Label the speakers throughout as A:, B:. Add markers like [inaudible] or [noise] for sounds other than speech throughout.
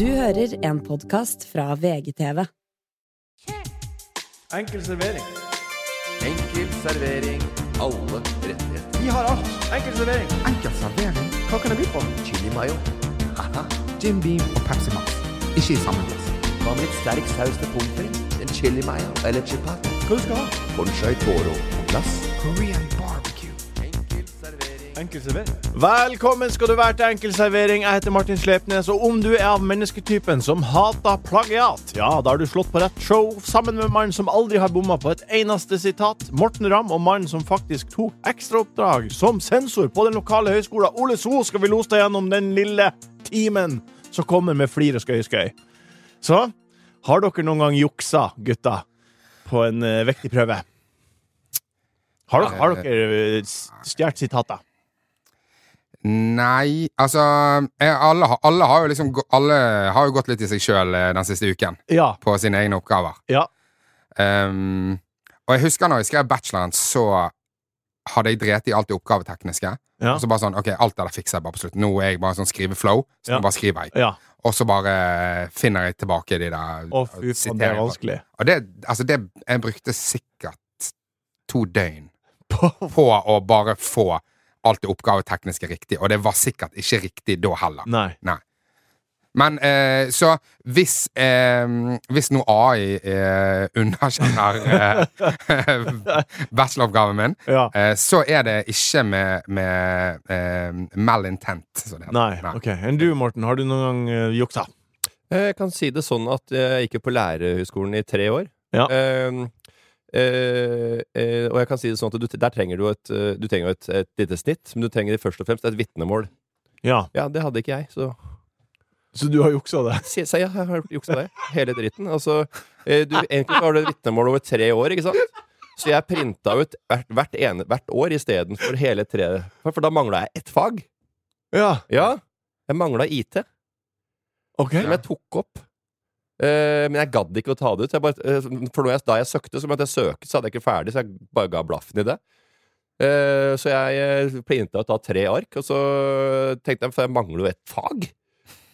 A: Du hører en podkast fra VGTV.
B: Enkel servering.
C: Enkel servering. Alle rettigheter.
B: Vi har alt. Enkel servering.
D: Enkel servering,
B: Hva kan jeg by på?
C: Chili mayo. Haha.
D: Jim Beam og Pepsi Max. Ikke i samme glass.
C: Hva med litt sterk saus til pommes frites? En chili mayo eller chipat?
B: Hva du skal ha?
C: Bonchai toro på glass.
D: Korean barbecue.
C: Enkel servering.
B: Enkel servering. Velkommen skal du være til Enkel servering. Jeg heter Martin Slepnes, og om du er av mennesketypen som hater plagiat, ja, da har du slått på rett show sammen med mannen som aldri har bomma på et eneste sitat, Morten Ramm, og mannen som faktisk tok ekstraoppdrag som sensor på den lokale høyskolen Ole So, skal vi lose deg gjennom den lille timen som kommer med flir og skøy-skøy. Så har dere noen gang juksa, gutta, på en eh, vektig prøve? Har dere, har dere eh, s- stjålet sitater?
D: Nei, altså eh, alle, har- alle har jo liksom gå- Alle har jo gått litt i seg sjøl den siste uken
B: Ja.
D: på sine egne oppgaver.
B: ja.
D: Ehm, og jeg husker når jeg skrev bacheloren, så hadde jeg drept i alt det oppgavetekniske.
B: Ja.
D: Og så bare sånn, ok, alt det der fikser jeg bare på slutt. Nå er jeg bare sånn skriveflow, så
B: Ja.
D: nå bare skriver jeg.
B: ja.
D: Og så bare eh, finner jeg tilbake de der
B: Å, fy faen, det er vanskelig.
D: Og det, altså det, jeg brukte sikkert to døgn
B: På-
D: på å bare få alt det oppgavetekniske riktig, og det var sikkert ikke riktig da heller.
B: Nei.
D: Men eh, så hvis, eh, hvis nå AI eh, underkjenner eh, [laughs] bacheloroppgaven min,
B: Ja.
D: eh, så er det ikke med, med eh, malintent, som det heter.
B: Nei. OK. Enn du, Morten, har du noen gang eh, juksa?
E: Jeg kan si det sånn at jeg gikk jo på lærerhøgskolen i tre år.
B: Ja.
E: Ehm, eh, eh, og jeg kan si det sånn at du, der trenger du et, eh, du trenger jo et, et lite snitt, men du trenger først og fremst et vitnemål.
B: Ja.
E: Ja, det hadde ikke jeg, så
B: Så du har juksa det? [laughs]
E: si, si, ja, jeg har juksa det. Hele dritten. Altså, eh, du, egentlig så har du et vitnemål over tre år, ikke sant? Så jeg printa ut hvert, hvert, ene, hvert år istedenfor hele tre. For da mangla jeg ett fag.
B: Ja.
E: Ja. Jeg mangla IT.
B: OK.
E: som jeg tok opp. Eh, men jeg gadd ikke å ta det ut. så Jeg bare, eh, for når jeg, da jeg søkte, så måtte jeg søke, så hadde jeg ikke ferdig, så jeg bare ga blaffen i det. Eh, så jeg eh, printa ut da tre ark, og så tenkte jeg for jeg mangler jo et fag.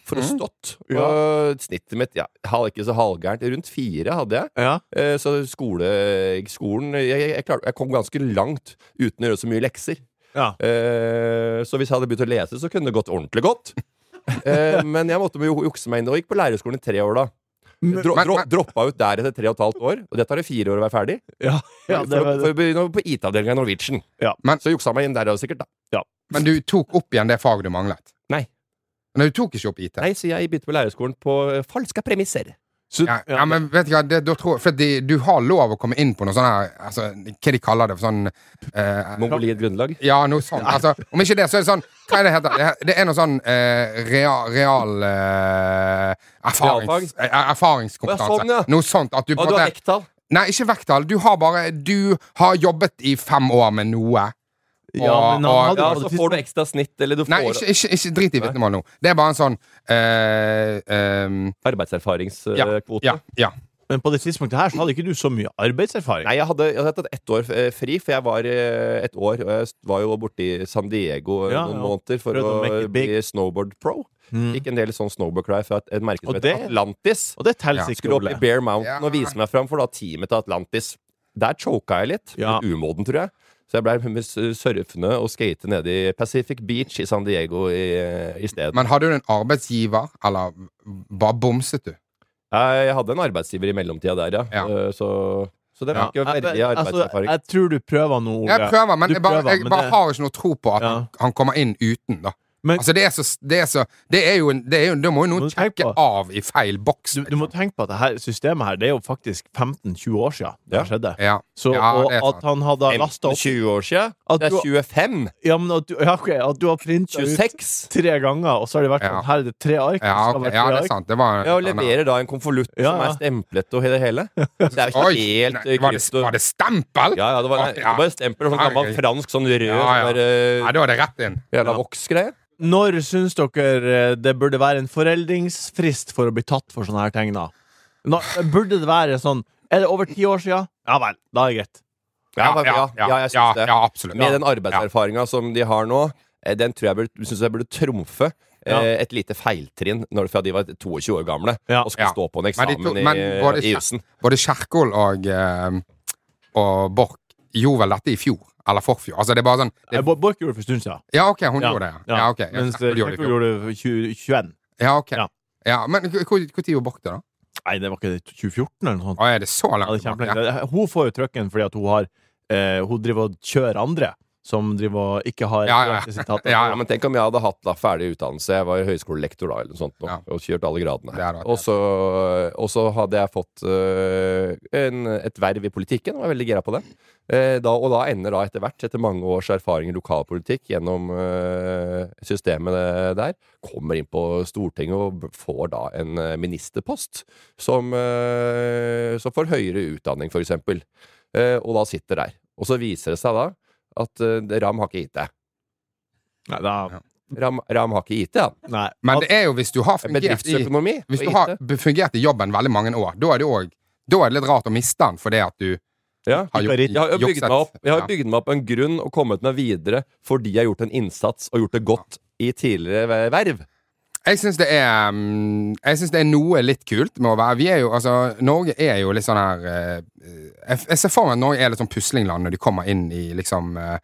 E: For å
D: Mm.
E: stått.
B: Mhm. Ja.
E: Og snittet mitt ja, hal- ikke så halvgærent. Rundt fire hadde jeg.
B: Ja.
E: Eh, så skole, skolen jeg, jeg, jeg, klarte, jeg kom ganske langt uten å gjøre så mye lekser.
B: Ja.
E: Eh, så hvis jeg hadde begynt å lese, så kunne det gått ordentlig godt. Eh, men jeg måtte jo jukse meg inn og gikk på lærerskolen i tre år da. Dro,
D: Men-
E: dro,
D: men-
E: droppa ut der etter tre og et halvt år. Og dette tar det fire år å være ferdig.
B: ja. ja det
E: for, å-
B: var
E: for å begynne på IT-avdelinga i Norwegian.
B: Ja.
D: Men-
E: så juksa jeg meg inn der også, sikkert. da
D: Men du tok opp igjen det faget du manglet?
E: Nei.
D: Men du tok ikke opp IT?
E: Nei, så jeg begynte på lærerskolen på eh, falske premisser.
B: Så,
D: Ja, ja, men vet du hva, det, da tror jeg For de, du har lov å komme inn på noe sånn her altså, Hva de kaller det for sånn eh,
E: Mongoliet grunnlag.
D: Ja, noe sånt. Altså, om ikke det, så er det sånn Hva er det heter? Det- Det er noe sånn eh, real, real eh, erfarings, eh,
E: Å, ja, sånn, ja.
D: erfaringskompetanse. Noe sånt at du på
E: Og
D: en
E: du har
D: måte
E: vekttall.
D: Nei, ikke vekttall. Du har bare Du har jobbet i fem år med noe.
B: ja, men han
D: og-
B: hadde
E: Ja,
B: jo
E: så
B: aldri-
E: får du ekstra snitt, eller du
D: Nei,
E: får
D: ikke, ikke, ikke drit i vitnemål nå. Det er bare en sånn eh, eh, ja,
E: arbeidserfaringskvote.
D: ja, ja.
B: Men på det tidspunktet her så hadde ikke du så mye arbeidserfaring.
E: Nei, jeg hadde, jeg hadde tatt ett år eh, fri, for jeg var eh, et år og jeg var jo borti San Diego eh,
B: Ja,
E: noen
B: ja.
E: måneder for
B: Prøvde
E: å
B: å make it big.
E: bli snowboard pro.
B: Mm.
E: Fikk en del sånn snowboardklær fra et, et merke
B: Og
E: som heter
B: det-
E: Atlantis.
B: Og det teller
D: Ja.
B: ikke,
E: Skulle opp
B: Ole.
E: i Bear Mountain
D: Ja.
E: og vise meg fram for da teamet til Atlantis. Der choka jeg litt.
B: Ja.
E: Litt umoden, tror jeg. Så jeg blei surfende og skate nede i Pacific Beach i San Diego i, eh, i stedet.
D: Men hadde du en arbeidsgiver, eller bare bomset du?
E: Jeg, jeg hadde en arbeidsgiver i mellomtida der, ja.
D: Ja.
E: Eh, Så, så det
D: Ja.
E: var ikke
B: Jeg-
E: veldig
B: jeg- Altså,
E: arbeidserfaring.
B: jeg tror du prøver nå, Ole.
D: Jeg prøver, men
B: Du
D: jeg bare,
B: prøver,
D: jeg
B: men
D: bare
B: det-
D: har ikke noe tro på at
B: Ja.
D: han, han kommer inn uten, da.
B: Men-
D: altså, det er så Det er, så, det er jo en det er jo, Da må
B: Må
D: jo noen
B: du tenke
D: sjekke
B: på-
D: av i feil boks.
B: du, du må tenke på at det her systemet her Det er jo faktisk 15-20 år siden det
E: Ja.
B: skjedde.
D: Ja.
B: Så,
D: Ja,
B: og
D: det er
B: at
D: sant.
B: han hadde lasta opp
E: 20 år sia?
B: At
E: Det
B: du-
E: er 25!
B: Ja, men at du, ja, ok, at du har printa ut
E: 26!
B: tre ganger, og så har det vært
D: Ja.
B: sånn Her er det tre ark. det
D: Ja,
B: skal
D: ok,
B: være
D: ja,
B: tre
D: det er
B: ark.
D: sant. Det var
E: Ja, og leverer da en konvolutt
B: Ja,
E: som
B: ja.
E: er stemplet og det hele. Det er jo
D: Oi!
E: ikke helt
D: Nei,
E: eh,
D: var, det,
E: krypto.
D: var det stempel?
E: Ja, ja, det var,
D: Å,
E: nei,
D: ja.
E: det var et stempel, sånn gammel
D: Herregud.
E: fransk, sånn rød,
D: Ja, ja.
E: Bare,
D: Nei, da er det rett inn.
E: jævla voksgreie.
B: Når syns dere eh, det burde være en foreldingsfrist for å bli tatt for sånne her ting, da? Nå, burde det være sånn Er det over ti år sia? Ja vel, da er det greit.
E: Ja, ja, ja, jeg syns
D: ja,
E: det.
D: ja, absolutt.
E: Med den arbeidserfaringa som de har nå, eh, den tror jeg burde, synes jeg burde trumfe
B: Ja.
E: eh, et lite feiltrinn når, fra de var 22 år gamle
B: Ja.
E: og skulle
D: Ja.
E: stå på en
D: Men de
E: eksamen
D: to- men var det
E: i, i
D: ikke-
E: jussen.
D: Både Kjerkol og, eh, og Borch gjorde vel dette i fjor. Eller forfjor. Altså, det er bare sånn
B: Eh,
D: det,
B: Bo- Borch gjorde det for en stund siden.
D: Ja, OK, hun
B: Ja,
D: gjorde det. Ja, ja ok. Ja,
B: Mens
D: Kjerkol gjorde det i
B: Kjerkol
D: fjor.
B: gjorde det for 20 21.
D: Ja, ok.
B: Ja.
D: Ja, men når gjorde Borch det, da?
B: Nei, det var ikke det 2014 eller noe sånt.
D: Å, er det så
B: Ja, det
D: langt
B: er
D: tilbake?
B: kjempelenge. Det- Hun får jo trøkken fordi at hun har eh, Hun driver og kjører andre som driver og ikke har
D: Ja, ja, ja.
B: korrekte sitater.
D: Ja,
E: Ja, men tenk om jeg hadde hatt da, ferdig utdannelse, jeg var høyskolelektor da, eller noe sånt, nå,
D: Ja.
E: og kjørt alle gradene.
D: Det er rart, ja.
E: Og så, og så hadde jeg fått øh, en, et verv i politikken, og jeg var veldig gira på det. Eh, da, og da ender da etter hvert, etter mange års erfaring i lokalpolitikk gjennom øh, systemet der, kommer inn på Stortinget og b- får da en eh, ministerpost som, øh, som får høyere utdanning, for eksempel. Eh, og da sitter der. Og så viser det seg da at eh, Ram har ikke gitt deg.
B: Nei, da,
D: Ja.
E: Ram, Ram har ikke IT, han.
B: nei.
D: Men det er jo hvis du har fungert i,
E: Bedriftsøkonomi
D: hvis du
E: og
D: har
E: IT.
D: fungert i jobben veldig mange år, da er det òg Da er det litt rart å miste den fordi at du
E: Ja.
D: har gjort
E: Jeg har, jo bygd meg opp, jeg har
D: Ja.
E: bygd meg opp en grunn og kommet meg videre fordi jeg har gjort en innsats og gjort det godt i tidligere ve- verv.
D: Jeg syns det er mm, Jeg synes det er noe litt kult med å være Vi er jo, altså Norge er jo litt sånn her eh, Jeg, jeg ser for meg at Norge er litt sånn puslingland når de kommer inn i liksom eh,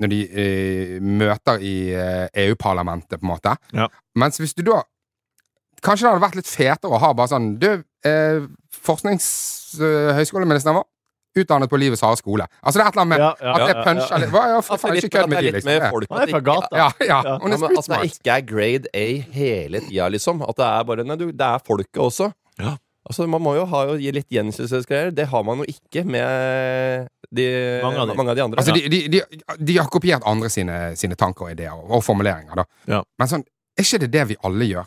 D: Når de eh, møter i eh, EU-parlamentet, på en måte.
B: Ja.
D: Mens hvis du da Kanskje det hadde vært litt fetere å ha bare sånn Du, eh, forskningshøyskoleministeren vår utdannet på livets harde skole. Altså det er et eller annet med
B: Ja, ja,
D: at det
B: ja, ja.
D: puncher litt Hva, ja, for
E: At det
D: faen,
E: er
D: ikke
E: litt,
D: kødd
E: at det
D: med
E: er
D: de,
E: litt
D: liksom.
E: med
D: Ja.
E: folk
B: Han er
E: at
B: fra
E: det ikke-
B: gata.
D: Ja, ja.
B: Ja,
D: Hun
E: Ja,
D: er
E: men at det
D: spritsmart.
E: ikke er grade A hele tida, liksom. At det er bare Nei, du, det er folket også.
B: Ja.
E: Altså, Man må jo ha jo, gi litt gjenkjennelsesgreier. Det har man jo ikke med de,
B: Mange av de.
E: andre.
D: Altså, de, de, de, de har kopiert andre sine, sine tanker og ideer og, og formuleringer, da.
B: Ja.
D: Men sånn, er ikke det det vi alle gjør?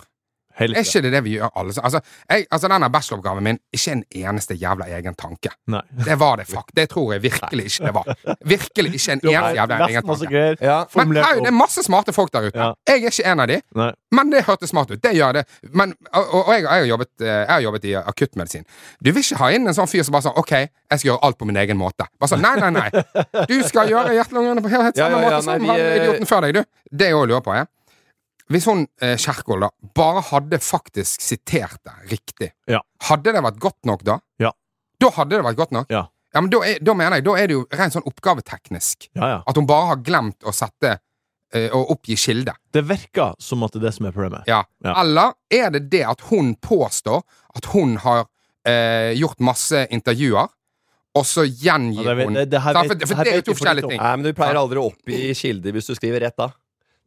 B: Helt
D: Er ikke det det vi gjør alle? Altså, jeg, altså denne bacheloroppgaven min, ikke en eneste jævla egen tanke.
B: Nei.
D: Det var det, fuck. Det tror jeg virkelig ikke det var. Virkelig ikke en eneste jævla egen
B: Nesten masse
D: tanke.
B: greier.
E: ja.
D: Men
B: Formulert
D: hei, det er
B: opp.
D: masse smarte folk der ute.
B: Ja.
D: Jeg er ikke en av de.
B: Nei.
D: Men det hørtes smart ut. Det gjør det. Men, og, og jeg, jeg, har jobbet, eh, jeg har jobbet i akuttmedisin. Du vil ikke ha inn en sånn fyr som bare sånn OK, jeg skal gjøre alt på min egen måte. Bare sånn, Nei, nei, nei. Du skal gjøre hjertelungene på helt, helt
E: Ja,
D: samme
E: ja, ja,
D: måte som
E: nei,
D: han
E: vi, eh,
D: idioten før deg, du. Det jeg òg lurer på, er Hvis hun eh, Kjerkol da bare hadde faktisk sitert det riktig,
B: Ja.
D: hadde det vært godt nok da?
B: Ja.
D: Da hadde det vært godt nok.
B: Ja.
D: men da, er, da mener jeg, da er det jo rent sånn oppgaveteknisk.
B: Ja, ja.
D: At hun bare har glemt å sette eh, Å oppgi kilde.
B: Det virker som at det er det som er problemet.
D: Ja.
B: Ja.
D: Eller er det det at hun påstår at hun har eh, gjort masse intervjuer, og så gjengir
B: Ja, det vet-
D: hun
B: det- det her
D: Nei,
B: vet-
D: For,
B: det
D: for
B: her
D: det er jo
B: vet
D: to
B: vi for lite
D: forskjellige
B: om.
D: ting.
E: Nei, men du pleier aldri å oppgi kilder hvis du skriver rett, da.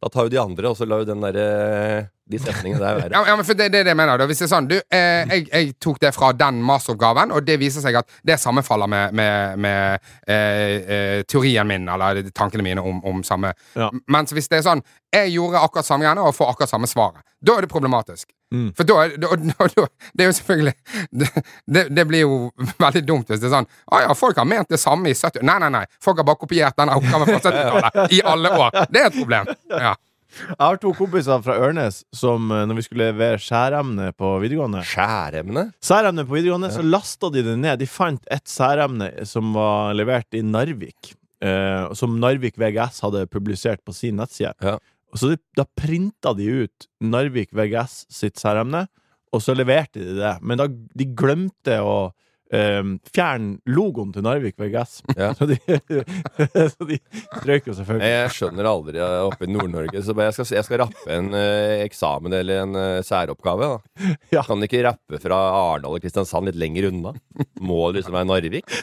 E: Da tar jo de andre, og så lar jo den derre De setningene der være.
D: Ja, ja, men for det, det er det jeg mener. Da. Hvis det er sånn, du, eh, jeg, jeg tok det fra den masteroppgaven, og det viser seg at det sammenfaller med, med, med eh, eh, teorien min, eller tankene mine om, om samme
B: Ja.
D: Mens hvis det er sånn, jeg gjorde akkurat samme greiene og får akkurat samme svaret, da er det problematisk. For da, er- da, da, da Det er jo selvfølgelig [laughs] det, det, det blir jo [laughs] veldig dumt hvis det er sånn Å ja, folk har ment det samme i 70 Nei, nei, nei. Folk har bare kopiert denne oppgaven fra 70-tallet i alle år. Det er et problem. Ja.
B: Jeg har to kompiser fra Ørnes som eh, når vi skulle levere skjæremne på videregående
E: Skjæremne?
B: Særemne på videregående, så lasta de det ned. De fant et særemne som var levert i Narvik. Eh, som Narvik VGS hadde publisert på sin nettside.
E: Ja.
B: Og så de, Da printa de ut Narvik VGS sitt særemne, og så leverte de det. Men da, de glemte å eh, fjerne logoen til Narvik VGS.
E: Ja.
B: [laughs] Så de, så de strøyk jo selvfølgelig.
E: Jeg skjønner aldri eh, oppe i Nord-Norge. Så bare jeg skal, jeg skal rappe en eh, eksamen eller en eh, særoppgave. Da.
B: [laughs] Ja.
E: Kan du ikke rappe fra Arendal og Kristiansand litt lenger unna? Må det liksom være Narvik?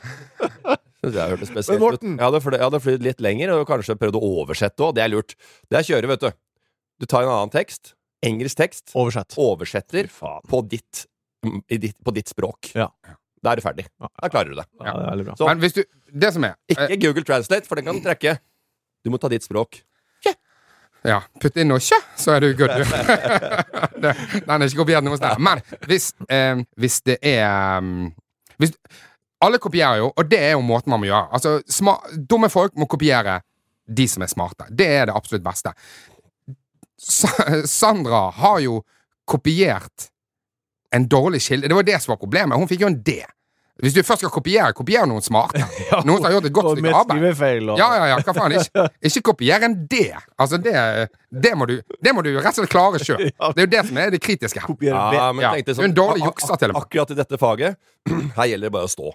E: Synes jeg hørte spesielt
B: Men Morten-
E: ut. Jeg hadde, fly, jeg hadde flydd litt lenger og kanskje prøvd å oversette òg. Det er lurt. Det er kjøre, vet du. Du tar en annen tekst. Engelsk tekst.
B: Oversett.
E: Oversetter
B: Fy faen.
E: på ditt, mm, i ditt, på ditt språk.
B: Ja.
E: Da er du ferdig. Da klarer du det.
B: Ja, det er veldig bra.
E: Så
D: Men hvis du Det som er eh,
E: ikke Google Translate, for den kan trekke. Du må ta ditt språk.
D: Ja, putt inn noe kjø, så er du
B: [laughs]
D: good, du. Det- Den er ikke kopiert noe sted. Men hvis, eh, hvis det er mm, hvis, Alle kopierer jo, og det er jo måten man må gjøre. Altså, sma, dumme folk må kopiere de som er smarte. Det er det absolutt beste. Sa- Sandra har jo kopiert en dårlig kilde. Det var det som var problemet. Hun fikk jo en D. Hvis du først skal kopiere, kopier noen smarte.
B: [laughs]
D: Noen som har gjort et godt
B: Og med
D: stykke arbeid.
B: skrivefeil og
D: Ja, ja, ja, hva faen. Ikke, ikke kopier en D. Altså, det, det, må du, det må du rett og slett klare
E: [laughs]
D: sjøl. Det er jo det som er det kritiske her.
B: kopiere det.
E: Ja, men
D: Ja.
E: tenkte
D: Hun
E: sånn,
D: dårlig
E: ak-
D: juksa til og med.
E: ak- Akkurat i dette faget, [clears throat] her gjelder det bare å stå.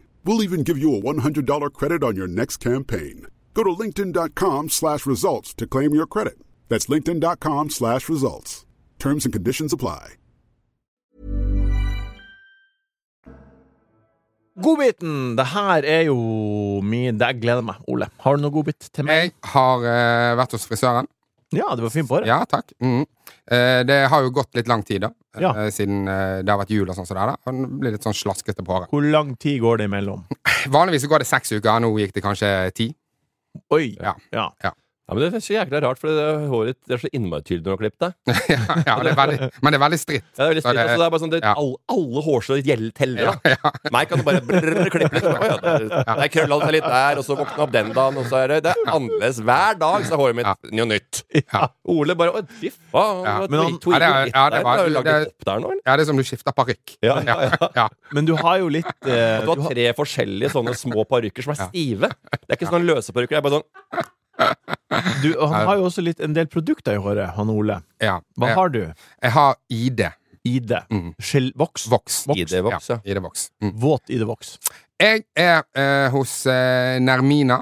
F: We'll even give you a $100 credit on your next campaign. Go to linkedin.com slash results to claim your credit. That's linkedin.com slash results. Terms and conditions apply.
B: Godbiten! Det her er jo min Det jeg gleder meg. Ole, har du noe godbit til meg?
D: Jeg har eh, vært hos frisøren.
B: Ja, du var fin på det.
D: Ja, takk. Mm. Eh, det har jo gått litt lang tid, da.
B: Ja.
D: Eh, siden eh, det har vært jul og sånn som det er. da. Og det blir litt sånn slaskete på håret.
B: Hvor lang tid går det imellom?
D: Vanligvis så går det seks uker, nå gikk det kanskje ti. [laughs]
B: Oi!
D: Ja.
B: Ja.
E: Ja, men Det er så jækla rart, for det håret det er så innmari tydelig når du har klippet deg.
D: ja, ja, det er veldig, men det er veldig stritt.
E: Ja, det er veldig
D: Så
E: stritt, altså, det er bare sånn, det,
D: ja.
E: alle, alle hårstrå gjel- teller.
D: Ja,
E: da.
D: ja.
E: Meg kan du bare brrr, klippe litt. Å, ja, det er- det er krølla seg litt der, og så våkna opp den dagen, og så er det, det er annerledes hver dag. Så er håret mitt
D: Ja.
E: noe nytt.
D: Ja.
E: Ole bare Å, fy faen.
D: Ja.
E: det var
B: Men han-
E: to- to-
D: Ja, det er-
E: litt
D: ja, det
E: der,
D: var-
E: har du lagd
D: det er-
E: et opp der nå, eller?
D: ja, det er som du skifter parykk.
E: Ja, ja, ja.
D: Ja.
B: Men du har jo litt eh,
E: Du har tre forskjellige sånne små parykker som er stive. Det er ikke sånne løse parykker. Det er bare sånn
B: du, og Han har jo også litt, en del produkter i håret, han Ole.
D: ja. Mm.
B: Hva
D: Jeg,
B: har du?
D: jeg har ID.
B: ID. Skjell- Voks.
D: Voks.
E: ID-voks, ja.
D: ID Voks. Mm.
B: Våt ID-voks.
D: Jeg er eh, hos eh, Nermina.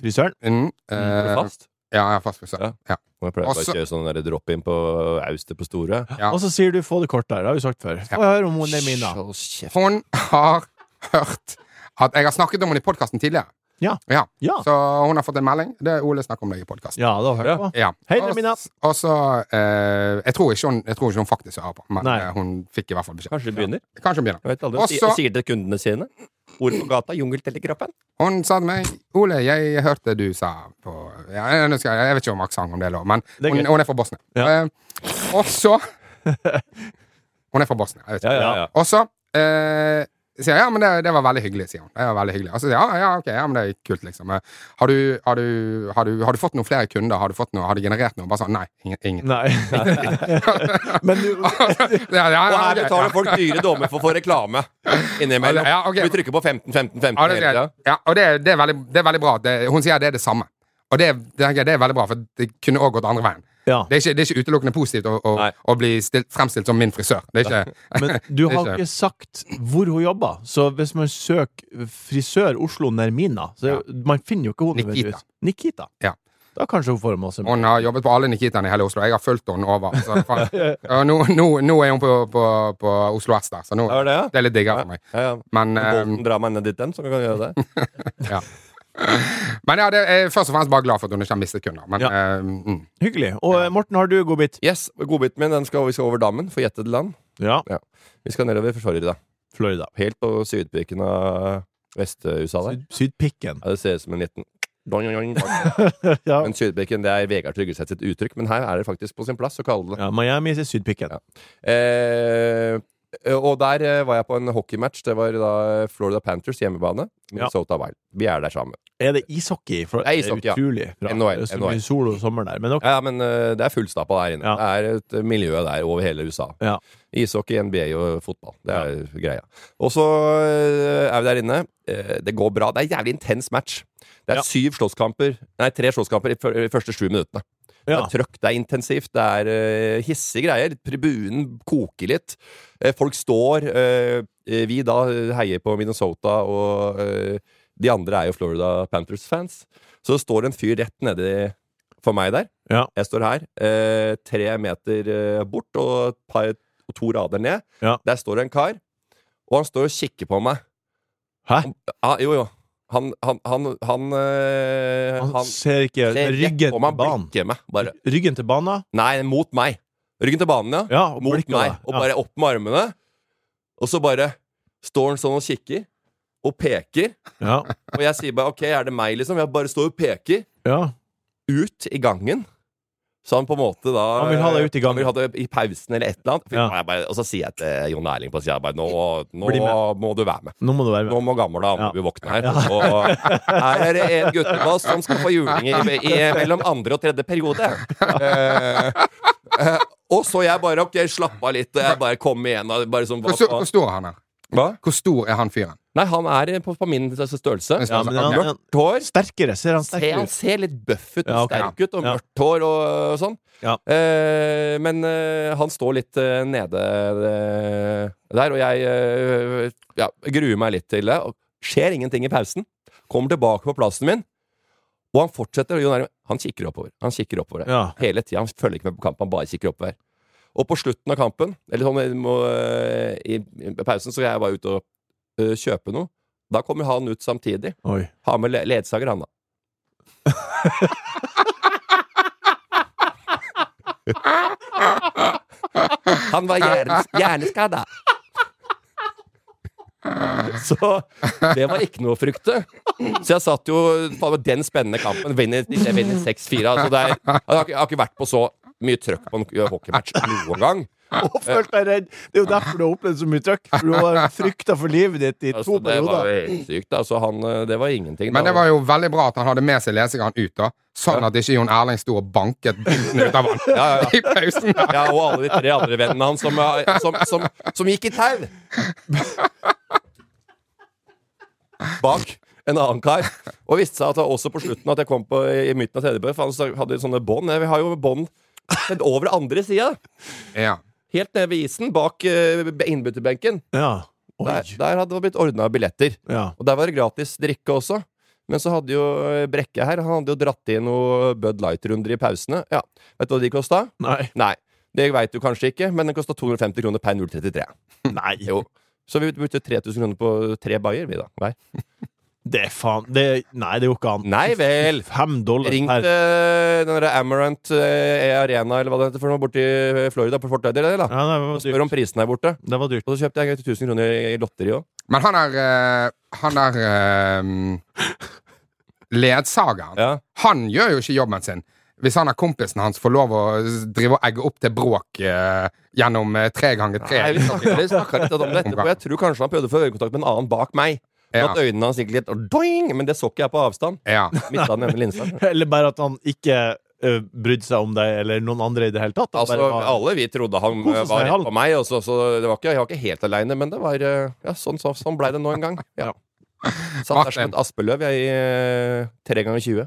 B: Frisøren.
D: Mm,
E: Er
D: eh,
E: du fast?
D: ja, jeg er fast frisør.
E: Ja.
D: Ja.
E: Må jeg prøve
D: Også-
E: å kjøre sånn der drop-in på Auster på Store?
D: Ja.
B: Og så sier du 'få det kort der'. Det har vi sagt før. Få høre om hun er mina.
E: Hold kjeft.
D: Hun har [laughs] hørt at jeg har snakket om henne i podkasten tidligere.
B: Ja.
D: Ja.
B: Ja.
D: Så hun har fått en melding. Det er Ole snakker om deg i podkasten.
B: Ja, da hører jeg på.
D: Ja.
B: Hei,
D: Og-
B: Nermina.
D: Og så eh, jeg, tror ikke hun, jeg tror ikke hun faktisk hører på, men
B: Nei.
D: eh, hun fikk i hvert fall beskjed.
E: Kanskje de begynner?
D: Kanskje hun begynner.
E: Jeg vet aldri.
D: Og så-
E: Sier- Sier til kundene sine. Ord på gata, jungeltelegrafen.
D: Hun sa til meg 'Ole, jeg hørte du sa på ja, jeg, jeg, jeg vet ikke om aksent om det er lov, men
B: Det er
D: hun,
B: greit.
D: hun er fra Bosnia.
B: Ja.
D: Eh, og så Hun er fra Bosnia. Jeg vet ikke.
E: ja, ja.
D: Og så eh, sier jeg ja, men det, det var veldig hyggelig, sier hun. Det var veldig hyggelig. Og så sier jeg ja, ja, ok, ja, men det er kult, liksom. Eh, Har du, har du, har du, har du fått noen flere kunder? Har du, fått noe, har du generert noe? Bare sånn nei, ingen. ingen.
B: Nei. Men du
D: [laughs] Ja, ja,
E: Og her
D: ok,
E: betaler
D: ja.
E: folk dyre dommer for å få
D: [laughs]
E: reklame innimellom.
D: Ja, ok.
E: Vi trykker på 15, 15, 15
D: Ja, det,
E: hele
D: sier jeg.
E: tida.
D: ja, og det, er- det, er veldig, det er veldig bra. at Det, hun sier det er det samme. Og det, det, tenker jeg, det er veldig bra, for det kunne òg gått andre veien.
B: Ja.
D: Det er ikke, det er ikke utelukkende positivt å, å,
E: Nei.
D: å bli stilt, fremstilt som min frisør. Det er
E: [laughs]
D: ikke,
B: Men du
D: Det
B: har
D: er
B: ikke sagt hvor hun jobber, så hvis man søker frisør Oslo Nermina så
D: Ja.
B: Man finner jo ikke henne.
D: Nikita.
B: nødvendigvis. Nikita.
D: Ja.
B: Da kanskje hun får med oss en
D: hun har jobbet på alle Nikitaene i hele Oslo. Jeg har fulgt henne over.
E: [laughs]
D: Så, faen. Og nå, nå, nå er hun på, på, på Oslo S der, så nå,
E: Er det, ja?
D: det er litt diggere for meg.
E: Ja, ja.
D: Men,
E: Bolten drar meg ned dit, den, så kan jeg
D: [laughs]
E: gjøre det.
D: eh, ja. Men ja, det er jeg først og fremst bare glad for at hun ikke har mistet kunder. Men,
B: Ja.
D: eh, mm.
B: Hyggelig. Og eh, Morten, har du godbit?
E: Yes, Godbiten min, den skal, vi skal over dammen, forjettet land.
B: Ja.
E: Ja. Vi skal nedover Florida.
B: Florida.
E: Helt på sydpiken av Vest-USA der.
B: Syd- Sydpikken.
E: Ja, det ser ut som en liten Doing, doing, doing.
B: Ja.
E: Men Sydpikken det er Vegard Tryggeseth sitt uttrykk, men her er det faktisk på sin plass å kalle det
B: ja,
E: det.
B: Miami er Sydpikken.
E: Ja. Eh, og der eh, var jeg på en hockeymatch. Det var da Florida Panthers hjemmebane. Minnesota Wild. Vi er der sammen.
B: Er det ishockey? For
E: Det er ishockey, ja.
B: utrolig bra.
E: NHL,
B: Det er så
E: NHL.
B: mye sol og sommer der. Men ok.
E: Ja, ja, men eh, det er fullstappa der inne.
B: Ja.
E: Det er et eh, miljø der over hele USA.
B: Ja.
E: Ishockey, NBA og fotball. Det er greia. Og så eh, er vi der inne. Eh, Det går bra. Det er en jævlig intens match. Det er
B: Ja.
E: syv slåsskamper Nei, tre slåsskamper i fyr- i de første sju minuttene.
B: Ja.
E: Det er trøkk, det er intensivt, det er eh, hissige greier. Tribunen koker litt. Eh, folk står. eh, eh, vi da heier på Minnesota, og eh, de andre er jo Florida Panthers-fans. Så det står en fyr rett nedi for meg der.
B: Ja.
E: Jeg står her, eh, tre meter eh, bort og et par, og to rader ned.
B: Ja.
E: Der står det en kar, og han står og kikker på meg.
B: Hæ?
E: Han, ja, jo, jo. Han Han, han, han, eh,
B: Han,
E: han
B: ser ikke
E: ser
B: ryggen
E: rett
B: til
E: på meg,
B: banen.
E: blikker meg. Bare.
B: Ryggen til banen?
E: Nei, mot meg. Ryggen til banen, ja.
B: Ja, og
E: mot
B: blikket
E: meg.
B: da.
E: Og
B: Ja.
E: bare opp med armene. Og så bare står han sånn og kikker, og peker.
B: Ja.
E: Og jeg sier bare OK, er det meg, liksom? Jeg bare står og peker
B: ja.
E: ut i gangen Så han på en måte da
B: Han vil ha deg ut i gang.
E: Han vil ha det i pausen eller et eller annet. Fy
B: Ja.
E: faen, jeg bare, og så sier jeg til Jon Erling på sida bare Nå, nå
B: Bli med.
E: må du være med.
B: Nå må du være
E: Nå
B: med.
E: må gamle damer bli våkne her. Og her er det en guttebass som skal få juling i, i, mellom andre og tredje periode. Eh, eh, og så jeg bare OK, slapp av litt. Og jeg bare kom igjen. Og bare sånn,
D: Hvor, stor- hvor stor er han her?
E: hva?
D: Hvor stor er han fyren?
E: Nei, han er på, på min størrelse.
D: Hvis
B: Ja,
D: man-
B: men han,
D: ok.
B: han,
E: Mørkt hår.
B: sterkere. Ser han
E: Se,
B: sterkere
E: han
B: ut?
E: ser litt bøff ut og
B: Ja, ok.
E: sterk ut, og
B: Ja.
E: mørkt hår og øh, sånn.
B: Ja.
E: Eh, men eh, han står litt eh, nede eh, der, og jeg eh, ja, gruer meg litt til det. Og skjer ingenting i pausen. Kommer tilbake på plassen min, og han fortsetter. og Jon Erling, han kikker oppover. Han kikker oppover
B: Ja.
E: hele tida. Han følger ikke med på kampen, han bare kikker oppover. Og på slutten av kampen, eller sånn eh, må, eh, i, i pausen, så er jeg bare ute og eh, kjøpe noe. Da kommer han ut samtidig.
B: Oi.
E: Har med le- ledsager, han da. Han var hjernes, hjerneskada. Så det var ikke noe å frykte. Så jeg satt jo faen, med den spennende kampen. Vinner, jeg vinner 6-4. Altså det er- jeg, har ikke- jeg har ikke vært på så mye trøkk på en hockeymatch noen gang.
B: Og følt deg redd. Det er jo derfor du har opplevd så mye trøkk. For du har frykta for livet ditt i
E: Altså,
B: to
E: det var
B: perioder.
E: jo helt sykt. Altså, han, eh, det var ingenting.
D: Men
E: da.
D: det var jo veldig bra at han hadde med seg leseren ut, da. Sånn at ikke Jon Erling sto og banket [laughs] bunten ut av han
E: ja, ja.
D: i pausen.
E: Ja, og alle de tre andre vennene hans som, som, som, som gikk i tau. Bak en annen kar. Og viste seg at det også på slutten at jeg kom på i midten av tredje periode, for han så- hadde jo sånne bånd. Vi har jo bånd helt over andre sida.
D: Ja.
E: Helt nede ved isen, bak eh, innbytterbenken.
B: Ja. Oi.
E: Der, der hadde det blitt ordna billetter.
B: Ja.
E: Og der var det gratis drikke også. Men så hadde jo eh, Brekke her Han hadde jo dratt inn noe Bud Light-runder i pausene. Ja, Vet du hva de kosta?
B: Nei.
E: Nei, det veit du kanskje ikke, men den kosta 250 kroner per 033.
B: Nei.
E: Jo. Så vi brukte 3000 kroner på tre bayer, vi, da. Nei,
B: Det er faen det, Nei, det er jo ikke an.
E: Nei vel!
B: Fem dollar per
E: Ringte den derre Amarant eh, Arena, eller hva det heter, for noe borti Florida, på Fort Lauderdale, da.
B: Ja, det var dyrt.
E: Spør om prisen her borte.
B: Det var dyrt.
E: Og så kjøpte jeg 1000 kroner i lotteri òg.
D: Men han er eh, Han er eh, Ledsageren.
E: Ja.
D: Han gjør jo ikke jobben sin. Hvis han er kompisen hans får lov å s- drive og egge opp til bråk eh, gjennom eh, tre ganger tre.
E: Nei, liksom. Vi snakka vi snakka litt om det etterpå. Jeg tror kanskje han prøvde å få øyekontakt med en annen bak meg. Men
D: Ja.
E: At øynene hans gikk litt og doing, men det så ikke jeg på avstand.
D: Ja.
E: Mista den ene linsa.
B: [laughs] Eller bare at han ikke ø, brydde seg om deg eller noen andre i det hele tatt. Han
E: Altså,
B: bare var-
E: alle vi trodde han
B: Koser
E: eh,
B: seg,
E: var
B: han.
E: rett på meg, og så, så det var ikke, jeg var ikke helt aleine, men det var eh, Ja, sånn, så, sånn blei det nå
B: [laughs]
E: en gang. Ja. Satt der som et aspeløv, jeg, i eh, tre ganger
B: [laughs]
E: 20.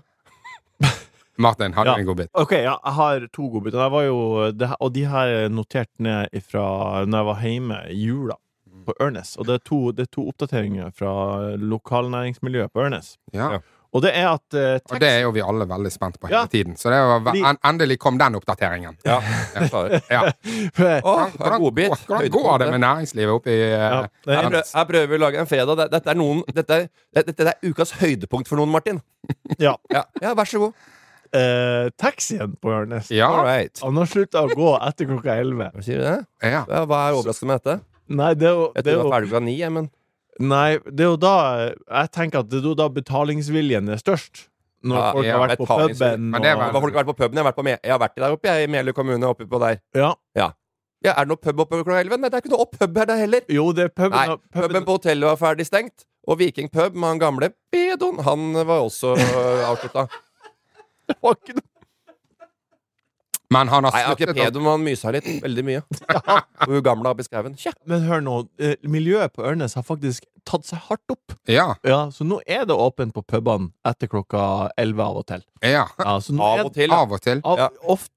D: Martin, hadde
B: Ja.
D: du en god bit?
B: Ok, ja, jeg har to godbiter. Jeg var jo- det her- Og de har jeg notert ned fra når jeg var hjemme i jula på Ørnes. Og det er to, det er to oppdateringer fra lokalnæringsmiljøet på Ørnes.
D: Ja.
E: Ja.
B: Og det er at eh,
D: Og det er jo vi alle veldig spent på hele
B: Ja.
D: tiden. Så det var,
B: Vi-
D: en, endelig kom den oppdateringen.
E: Ja. Klarer.
D: Ja.
E: [laughs]
B: tekst-
E: Å,
D: Hvordan, hvordan,
E: godbit.
D: går- hvordan går det
E: Høydepunktet.
D: med næringslivet oppe i eh,
B: Ja, det er-
E: Her prø- her prøver vi å lage en fredag. Det- Dette er, noen, dette, er, det- dette er ukas høydepunkt for noen, Martin.
B: [laughs] ja,
E: Ja, ja vær så god.
B: eh, taxien på Ørnes.
D: Ja.
E: All right.
B: Han har slutta å gå etter klokka elleve.
E: Hva sier du det?
D: Ja.
E: Ja, hva er overraskende med dette?
B: Nei, det er jo,
E: Jeg
B: det er
E: trodde det
B: jo
E: var ferdig klokka ni, jeg, men
B: Nei, det er jo da Jeg tenker at det er jo da betalingsviljen er størst. Når
E: Ja,
B: folk
D: ja,
B: har vært på
E: betalingsviljen.
B: puben.
D: Men det
E: Hva
D: var-
B: og-
E: har folk vært på puben? Jeg har vært, på, Me- jeg har vært der oppe, jeg, i Meløy kommune. Oppe på der.
B: ja.
E: Ja, er det noe pub oppe klokka elleve? Nei, det er ikke noe opp pub her, det heller.
B: Jo, det er puben.
E: Nei, puben på hotellet var ferdig stengt. Og Viking pub med han gamle pedoen, han var også øh, avslutta.
B: var ikke noe
D: Men han har
E: Nei, han er ikke
D: sluttet å
E: pedo, men han mysa litt. Veldig mye. Og hun gamle oppi skauen. Tja.
B: Men hør nå, eh, miljøet på Ørnes har faktisk tatt seg hardt opp.
D: Ja.
B: Ja, Så nå er det åpent på pubene etter klokka 11 av og til.
D: ja.
B: Ja, så nå er
E: Av og
B: det-
E: til. ja.
D: Av og til.
B: Av,
E: Ja.
B: ofte,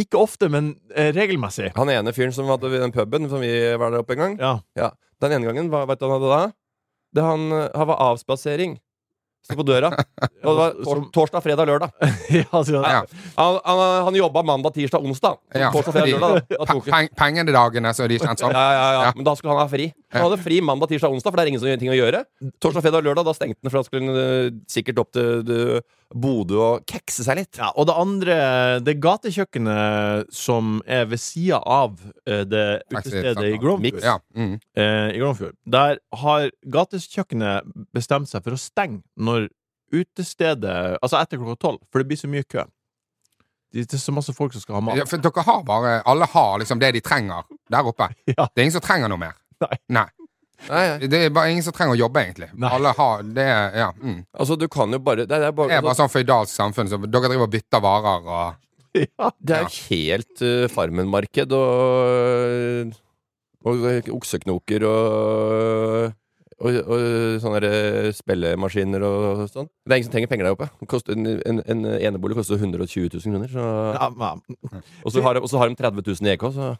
B: ikke ofte, men eh, regelmessig.
E: Han ene fyren som hadde den puben som vi var der oppe en gang,
B: Ja. [laughs]
E: den ene gangen, hva vet du hva han hadde da? Det han, øh, han var avspasering. Sto
B: [laughs]
E: på døra. Og det var tor
B: Som-
E: torsdag, fredag, lørdag.
B: ja, altså, så,
D: Ja.
E: Han, han, han jobba mandag, tirsdag, onsdag.
D: Ja.
E: Torsdag,
B: [laughs]
E: fredag, lørdag. [laughs] Da, da
D: Pe-
E: tok hun-
D: peng- Pengedagene, som de sånn. er kjent som.
E: Ja, ja, ja,
D: Ja.
E: men da skulle han ha fri. Han hadde fri mandag, tirsdag, onsdag, for det er ingen som gjør ting å gjøre. Torsdag, fredag, lørdag, da stengte han, for da skulle han eh, sikkert opp til eh, Bodø og kekse seg litt.
B: Ja, og det andre, det gatekjøkkenet som er ved sida av eh, det utestedet i Gromfjord,
D: Ja. Mm.
B: eh, i Gromfjord Der har gatekjøkkenet bestemt seg for å stenge når utestedet Altså etter klokka tolv, for det blir så mye kø. Det er så masse folk som skal ha mat.
D: Ja, for dere har bare Alle har liksom det de trenger der oppe.
B: Ja.
D: Det er ingen som trenger noe mer.
B: Nei.
E: Nei, nei.
D: Det er bare ingen som trenger å jobbe, egentlig.
B: Nei.
D: Alle har Det er- ja. Mm.
E: Altså, du kan jo bare Det er, det er
D: Det
E: bare, altså,
D: er bare sånn føydalsk samfunn, så dere driver og bytter varer og
B: [laughs] Ja.
E: det er helt eh, farmenmarked og, og eh, okseknoker og og, og sånne der eh, spillemaskiner og sånn. Det er ingen som trenger penger der oppe. Det koster- En, en, en enebolig koster 120 000 kroner. Så,
B: Ja, men-
E: og, så har, og så har de 30 000 i EK, så,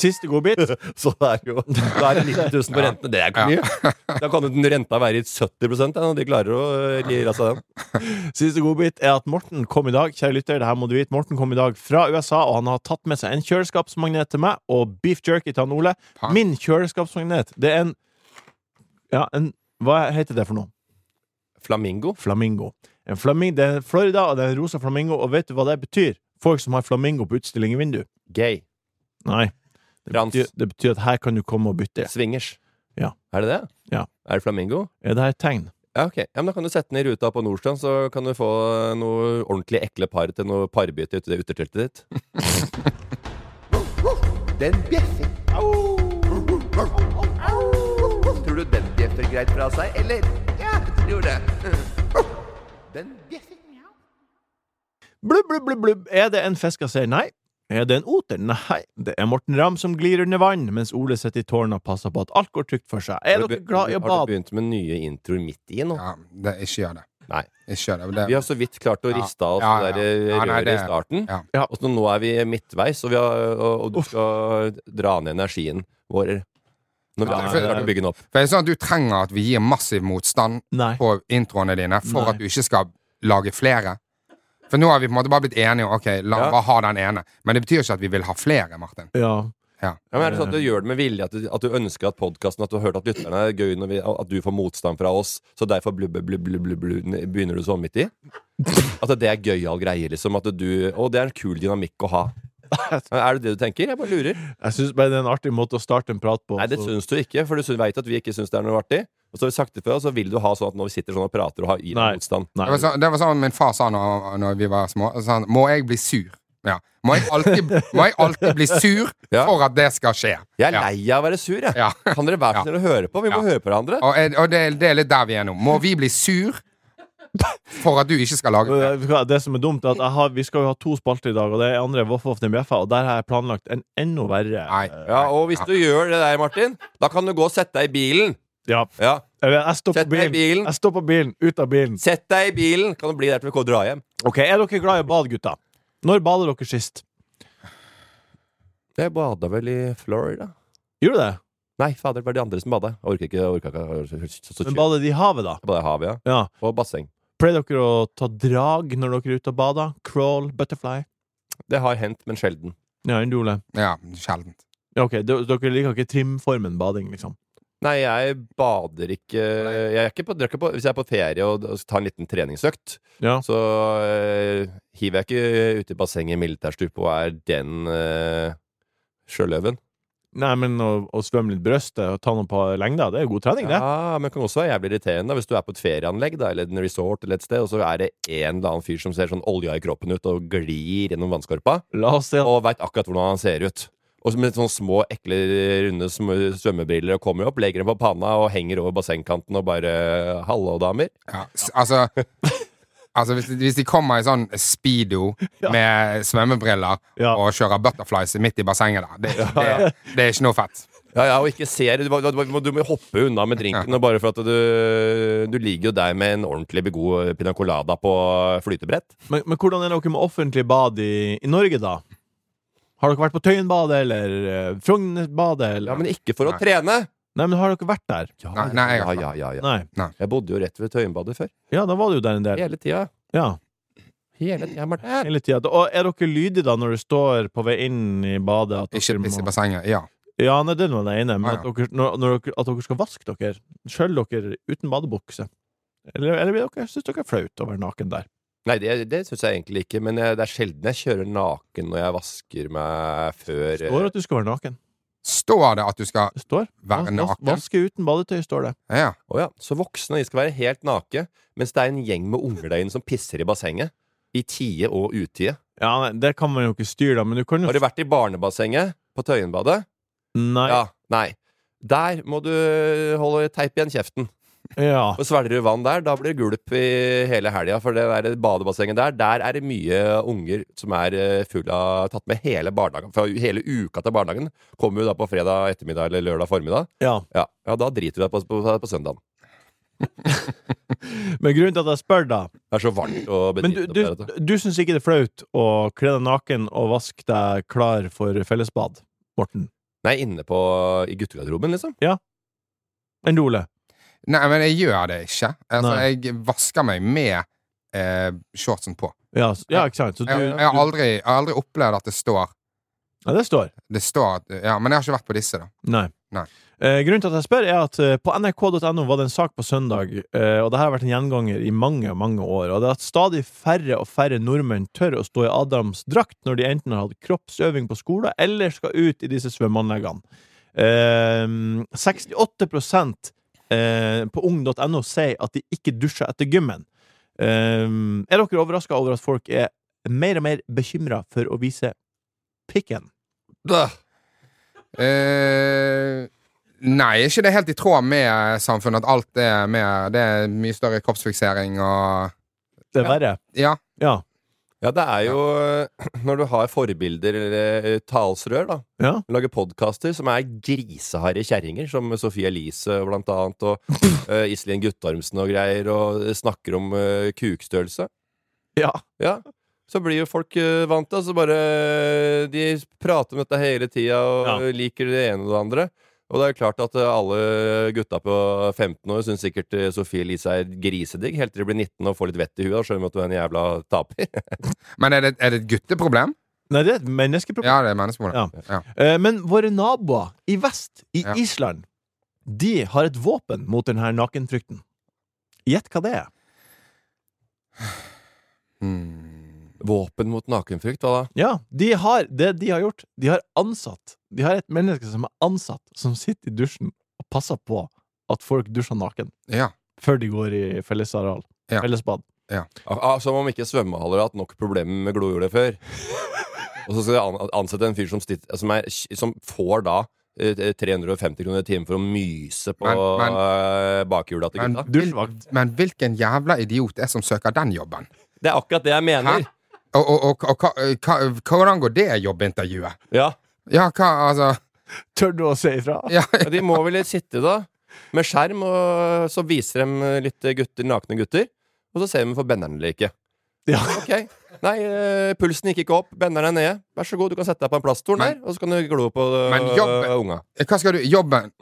B: Siste godbit.
E: [laughs] så det er jo Da er det 90 000 på rentene. Det er ikke mye. Da kan jo den renta være i 70 ja, når de klarer å lire av seg den.
B: Siste godbit er at Morten kom i dag Kjære lytter, det her må du vite Morten kom i dag fra USA, og han har tatt med seg en kjøleskapsmagnet til meg og beef jerky til han Ole.
D: Faen.
B: Min kjøleskapsmagnet, det er en Ja, en Hva heter det for noe?
E: Flamingo?
B: Flamingo. En flamingo, det er Florida, og det er en rosa flamingo, og vet du hva det betyr? Folk som har flamingo på utstilling i vindu.
E: Gay?
B: Nei. Det
E: Trans.
B: betyr, det betyr at her kan du komme og bytte.
E: Swingers?
B: Ja.
E: Er det det?
B: Ja.
E: Er det flamingo?
B: Er det her et tegn?
E: Ja, ok. Ja, men Da kan du sette den i ruta på Nordstrand, så kan du få noe ordentlig ekle par til noe parbytte uti det uterteltet ditt.
C: Den bjeffer. Tror du den bjeffer greit fra seg, eller? Ja, jeg tror det. Den bjeffer.
B: Blubb, blubb, blubb, blubb. Er det en fisk jeg ser? Nei. Er det en oter? Nei. Det er Morten Ramm som glir under vann, mens Ole sitter i tårnet og passer på at alt går trygt for seg. Er
E: Har du
B: dere
E: be-
B: glad i å
E: Har du
B: bade?
E: begynt med nye introer midt i nå?
D: Ja, det, ikke gjør det.
E: Nei.
D: Ikke gjør det. det
E: Vi har så vidt klart å
D: Ja.
E: riste av oss
D: Ja, ja,
E: det der
D: ja. Ja, nei,
E: røret
D: det-
E: i starten.
D: ja.
B: Ja.
E: Og så nå er vi midtveis, og, vi har, og, og du skal dra ned energien vår. Når vi
D: Ja,
E: har
D: for-
E: klart å bygge den opp.
D: For det er sånn at Du trenger at vi gir massiv motstand
B: Nei.
D: på introene dine for
B: Nei.
D: at du ikke skal lage flere. For nå har vi på en måte bare blitt enige om ok, la
E: Ja.
D: bare ha den ene. Men det betyr ikke at vi vil ha flere, Martin.
B: Ja.
D: Ja.
E: Ja, men er det sånn at du gjør det med vilje? At du, at du ønsker at podkasten At du har hørt at lytterne er gøy, når vi, at du får motstand fra oss, så derfor blubbe, blubbe, blubbe, blubbe, begynner du sånn midt i? At det er gøyal greie, liksom? At du Å, det er en kul dynamikk å ha. Er det det du tenker? Jeg bare lurer.
B: Jeg syns bare det er en artig måte å starte en prat på.
E: Nei, det
B: så-
E: syns du ikke, for du veit at vi ikke syns det er noe artig. Og så har vi sagt det før, og så vil du ha sånn at når vi sitter sånn og prater og har i
B: Nei.
E: deg motstand.
B: Nei.
D: Det var, så, det var sånn min far sa når, når vi var små. Så sa han, må jeg bli sur? Ja. Må jeg alltid, må jeg alltid bli sur
E: [laughs] Ja.
D: for at det skal skje?
E: Jeg er
D: Ja.
E: lei av å være sur, jeg.
D: Ja.
E: Kan dere være så snill å høre på? Vi må
D: Ja.
E: høre på hverandre.
D: Og, er- og det, det er litt der vi er nå. Må vi bli sur for at du ikke skal lage flere?
B: eh, Vet du hva, Det som er dumt, er at jeg har, vi skal jo ha to spalter i dag, og det er andre Voff Voff den bjeffa, og der har jeg planlagt en enda verre.
D: Nei.
E: Ja, og hvis
D: Ja.
E: du gjør det der, Martin, da kan du gå og sette deg i bilen.
B: Ja.
E: Ja
B: Jeg jeg stopper
E: Sett deg i
B: bilen.
E: bilen.
B: Jeg stopper bilen. Ut av bilen.
E: Sett deg i bilen! Kan du bli der til vi går og drar hjem?
B: Ok, Er dere glad i å bade, gutta? Når bader dere sist?
E: Jeg bada vel i Florida.
B: Gjorde dere det?
E: Nei, fader, det var de andre som bada. Jeg Orker ikke. jeg Orker ikke. jeg orker ikke, Så, så,
B: Men
E: kjipt.
B: bader de i havet, da?
E: Jeg badet i havet, ja.
B: Ja.
E: Og basseng.
B: Pleier dere å ta drag når dere er ute og bader? Crawl, butterfly?
E: Det har hendt, men sjelden.
B: Ja, enn du, Ole?
D: Ja, sjeldent.
B: Ja, ok, de- dere liker ikke trimformen bading, liksom?
E: Nei, jeg bader ikke Jeg er ikke på, drar ikke på Hvis jeg er på ferie og, og tar en liten treningsøkt,
B: Ja.
E: så eh, hiver jeg ikke uti bassenget i militærstupe og er den eh, sjøløven.
B: Nei, men å, å svømme litt brøstet og ta noe på lengda, det er jo god trening, det.
E: Ja, men det kan også være jævlig irriterende hvis du er på et ferieanlegg da, eller en resort eller et sted, og så er det en eller annen fyr som ser sånn olja i kroppen ut og glir gjennom vannskorpa,
B: La oss se.
E: og veit akkurat hvordan han ser ut. Og så med sånne små, ekle, runde sm- svømmebriller og kommer opp, legger dem på panna og henger over bassengkanten og bare 'Hallo, damer'.
D: Ja, s-
E: [laughs]
D: altså Altså hvis, hvis de kommer i sånn speedo med svømmebriller
B: Ja.
D: og kjører butterflies midt i bassenget der, det, det, det er ikke noe fett.
E: Ja, ja, og ikke ser Du, må- du, må- du må hoppe unna med drinken, og bare for at du Du ligger jo der med en ordentlig god piña colada på eh, flytebrett.
B: Men, men hvordan er dere med offentlig bad i, i Norge, da? Har dere vært på Tøyenbadet eller eh, Frognerbadet? Eller?
E: Ja, men ikke for
D: Nei.
E: å trene!
B: Nei, men har dere vært der?
E: Ja,
D: Nei, nei, jeg
E: ja,
D: har
E: ja, ja, ja.
B: Nei.
E: Jeg bodde jo rett ved Tøyenbadet før.
B: Ja, da var det jo der en del.
E: Hele tida.
B: Ja,
E: Hele tida, Martin.
B: hele tida. Og er dere lydige da når du står på vei inn i badet? at
D: Ikke
B: dere
D: piss i
B: må-
D: bassenget. Ja.
B: Ja, nei, den var jeg enig i, men
D: Ah,
B: at dere, når, når dere, at dere skal vaske dere, skjøll dere uten badebukse. Eller, eller blir dere, syns dere er flaut å være naken der?
E: Nei, det, det syns jeg egentlig ikke, men jeg, det er sjelden jeg kjører naken når jeg vasker meg før
B: Det
E: eh,
B: står at du skal være naken.
D: Står det at du skal
B: Det står.
D: være
B: Vas- vas-
D: naken?
B: Vaske uten badetøy, står det.
D: Ja.
E: Å ja. Så voksne de skal være helt nake, mens det er en gjeng med unger der inne som pisser i bassenget. I tide og utide.
B: Ja, nei, Det kan man jo ikke styre, da, men du kan jo
E: Har du vært i barnebassenget på Tøyenbadet?
B: Nei.
E: Ja. Nei. Der må du holde teip igjen kjeften.
B: Ja.
E: Og svelger du vann der, da blir det gulp i hele helga. For det der badebassenget der, der er det mye unger som er eh, full av Tatt med hele barnehagen. For hele uka til barnehagen kommer jo da på fredag ettermiddag eller lørdag formiddag.
B: ja.
E: Ja, ja da driter du deg på, på, på søndagen.
B: Men grunnen til at jeg spør, da
E: Det er så varmt og
B: Men du,
E: bedritent
B: du,
E: der ute.
B: du syns ikke det er flaut å kle deg naken og vaske deg klar for fellesbad, Morten?
E: Nei, inne på i guttegarderoben, liksom.
B: Enn Ole?
D: Nei, men jeg gjør det ikke. Altså,
B: Nei.
D: jeg vasker meg med eh, shortsen på.
B: Ja, s- ja, ikke sant? Så du,
D: Jeg, jeg, har
B: du,
D: aldri, jeg har aldri opplevd at det står
B: ja, det står.
D: Det står at Ja, men jeg har ikke vært på disse, da.
B: Nei.
D: Nei.
B: Eh, grunnen til at jeg spør, er at eh, på nrk.no var det en sak på søndag, eh, og det her har vært en gjenganger i mange mange år, og det er at stadig færre og færre nordmenn tør å stå i Adams drakt når de enten har hatt kroppsøving på skolen eller skal ut i disse svømmeanleggene. Eh, 68 eh, på ung.no sier at de ikke dusjer etter gymmen. Eh, er dere overraska over at folk er mer og mer bekymra for å vise pikken?
D: Eh, nei, er ikke det helt i tråd med eh, samfunnet at alt er med Det er mye større kroppsfiksering og
B: Det er verre.
D: Ja.
B: Ja.
E: Ja, det er jo [clears throat] Når du har forbilder eller eh, talsrør, da.
B: ja.
E: Lager podkaster som er griseharde kjerringer, som Sofie Elise blant annet, [laughs] og eh, Iselin Guttormsen og greier, og snakker om eh, kukstørrelse.
B: ja.
E: Ja. Så blir jo folk eh, vant til det. Så bare eh, De prater om dette hele tida og
B: Ja.
E: liker det ene og det andre. Og det er jo klart at eh, alle gutta på 15 år syns sikkert eh, Sofie Elise er grisedigg, helt til de blir 19 og får litt vett i huet og skjønner at du er en jævla taper.
D: Men er det, er det et gutteproblem?
B: Nei, det er et menneskeproblem.
D: Ja, det er menneskeproblem.
B: Ja. Eh, Men våre naboer i vest, i
D: Ja.
B: Island, de har et våpen mot denne nakenfrykten. Gjett hva det er.
D: Hmm.
E: Våpen mot nakenfrykt, hva da?
B: Ja, de har, Det de har gjort, de har ansatt De har et menneske som er ansatt, som sitter i dusjen og passer på at folk dusjer naken
D: Ja.
B: før de går i fellesareal.
D: Ja.
B: Fellesbad.
E: Ah, ah, som om ikke svømmehaller har hatt nok problemer med glohjulet før. Og så skal de an- ansette en fyr som, stit, som, er, som får da eh, 350 kroner i timen for å myse på
D: Men- men-
E: eh, bakhjula til
D: men-
E: gutta.
B: Dusjvakt.
D: Men hvilken jævla idiot er som søker den jobben?
E: Det er akkurat det jeg mener.
D: Hæ? Og, og, og, og hva, hva, hvordan går det jobbintervjuet?
E: Ja.
D: Ja, hva, altså
B: Tør du å si ifra?
D: Ja,
E: Ja, De må vel sitte da med skjerm, og så viser de litt gutter, nakne gutter. Og så ser vi om de får benderen eller ikke.
B: Ja.
E: Ok, Nei, eh, pulsen gikk ikke opp. Benderen er nede. Vær så god, du kan sette deg på en plaststol der,
D: Men-
E: og så kan du glo på
D: Men
E: eh,
D: jobben-
E: unga.
D: hva skal du Jobben?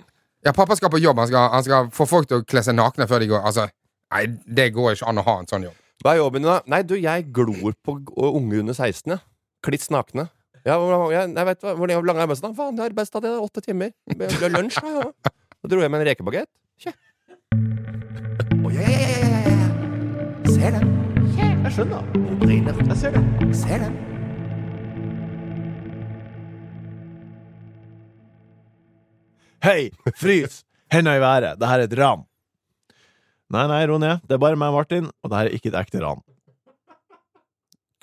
D: Ja, pappa skal på jobb. Han skal, han skal få folk til å kle seg nakne før de går. Altså, nei, det går ikke an å ha en sånn jobb.
E: Hva er jobben din, da? Nei, du, jeg glor på g- unge under 16, ja. Kliss nakne. Ja, hvor, lang- jeg, jeg vet hva, hvor lenge- hvor lang er arbeidsdagen? Vanlig arbeidsdag, det er åtte timer. Det blir lunsj, da. Ja. Da dro jeg med en rekebagett. Tje.
C: Å, ja, ja, ja, ja, ja, ja. Ser den.
B: Jeg skjønner.
C: Hun brenner.
B: Jeg ser det.
C: Ser den.
B: Hei, frys! Henda i været. Det her er et ran. Nei, nei, ro ned. Det er bare meg og Martin, og det her er ikke et ekte ran.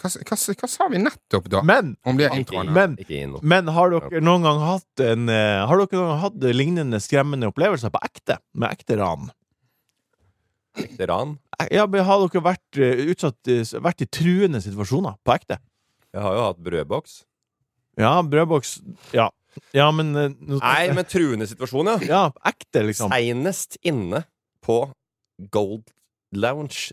D: Hva, s- hva, s- hva sa vi nettopp, da?
B: Men
D: Om de
E: Ikke,
D: introene?
E: inn-
B: Men-
E: ikke inn nå.
B: Men har dere noen gang hatt en eh, Har dere noen gang hatt lignende skremmende opplevelser på ekte? Med ekte ran?
E: Ekte ran.
B: Eh, Ja, men har dere vært eh, utsatt eh, Vært i truende situasjoner på ekte?
E: Jeg har jo hatt brødboks.
B: Ja, brødboks Ja, ja men eh, nå-
E: Nei, men truende situasjon, ja.
B: [laughs] Ja, ekte, liksom.
E: Seinest inne på Gold Lounge,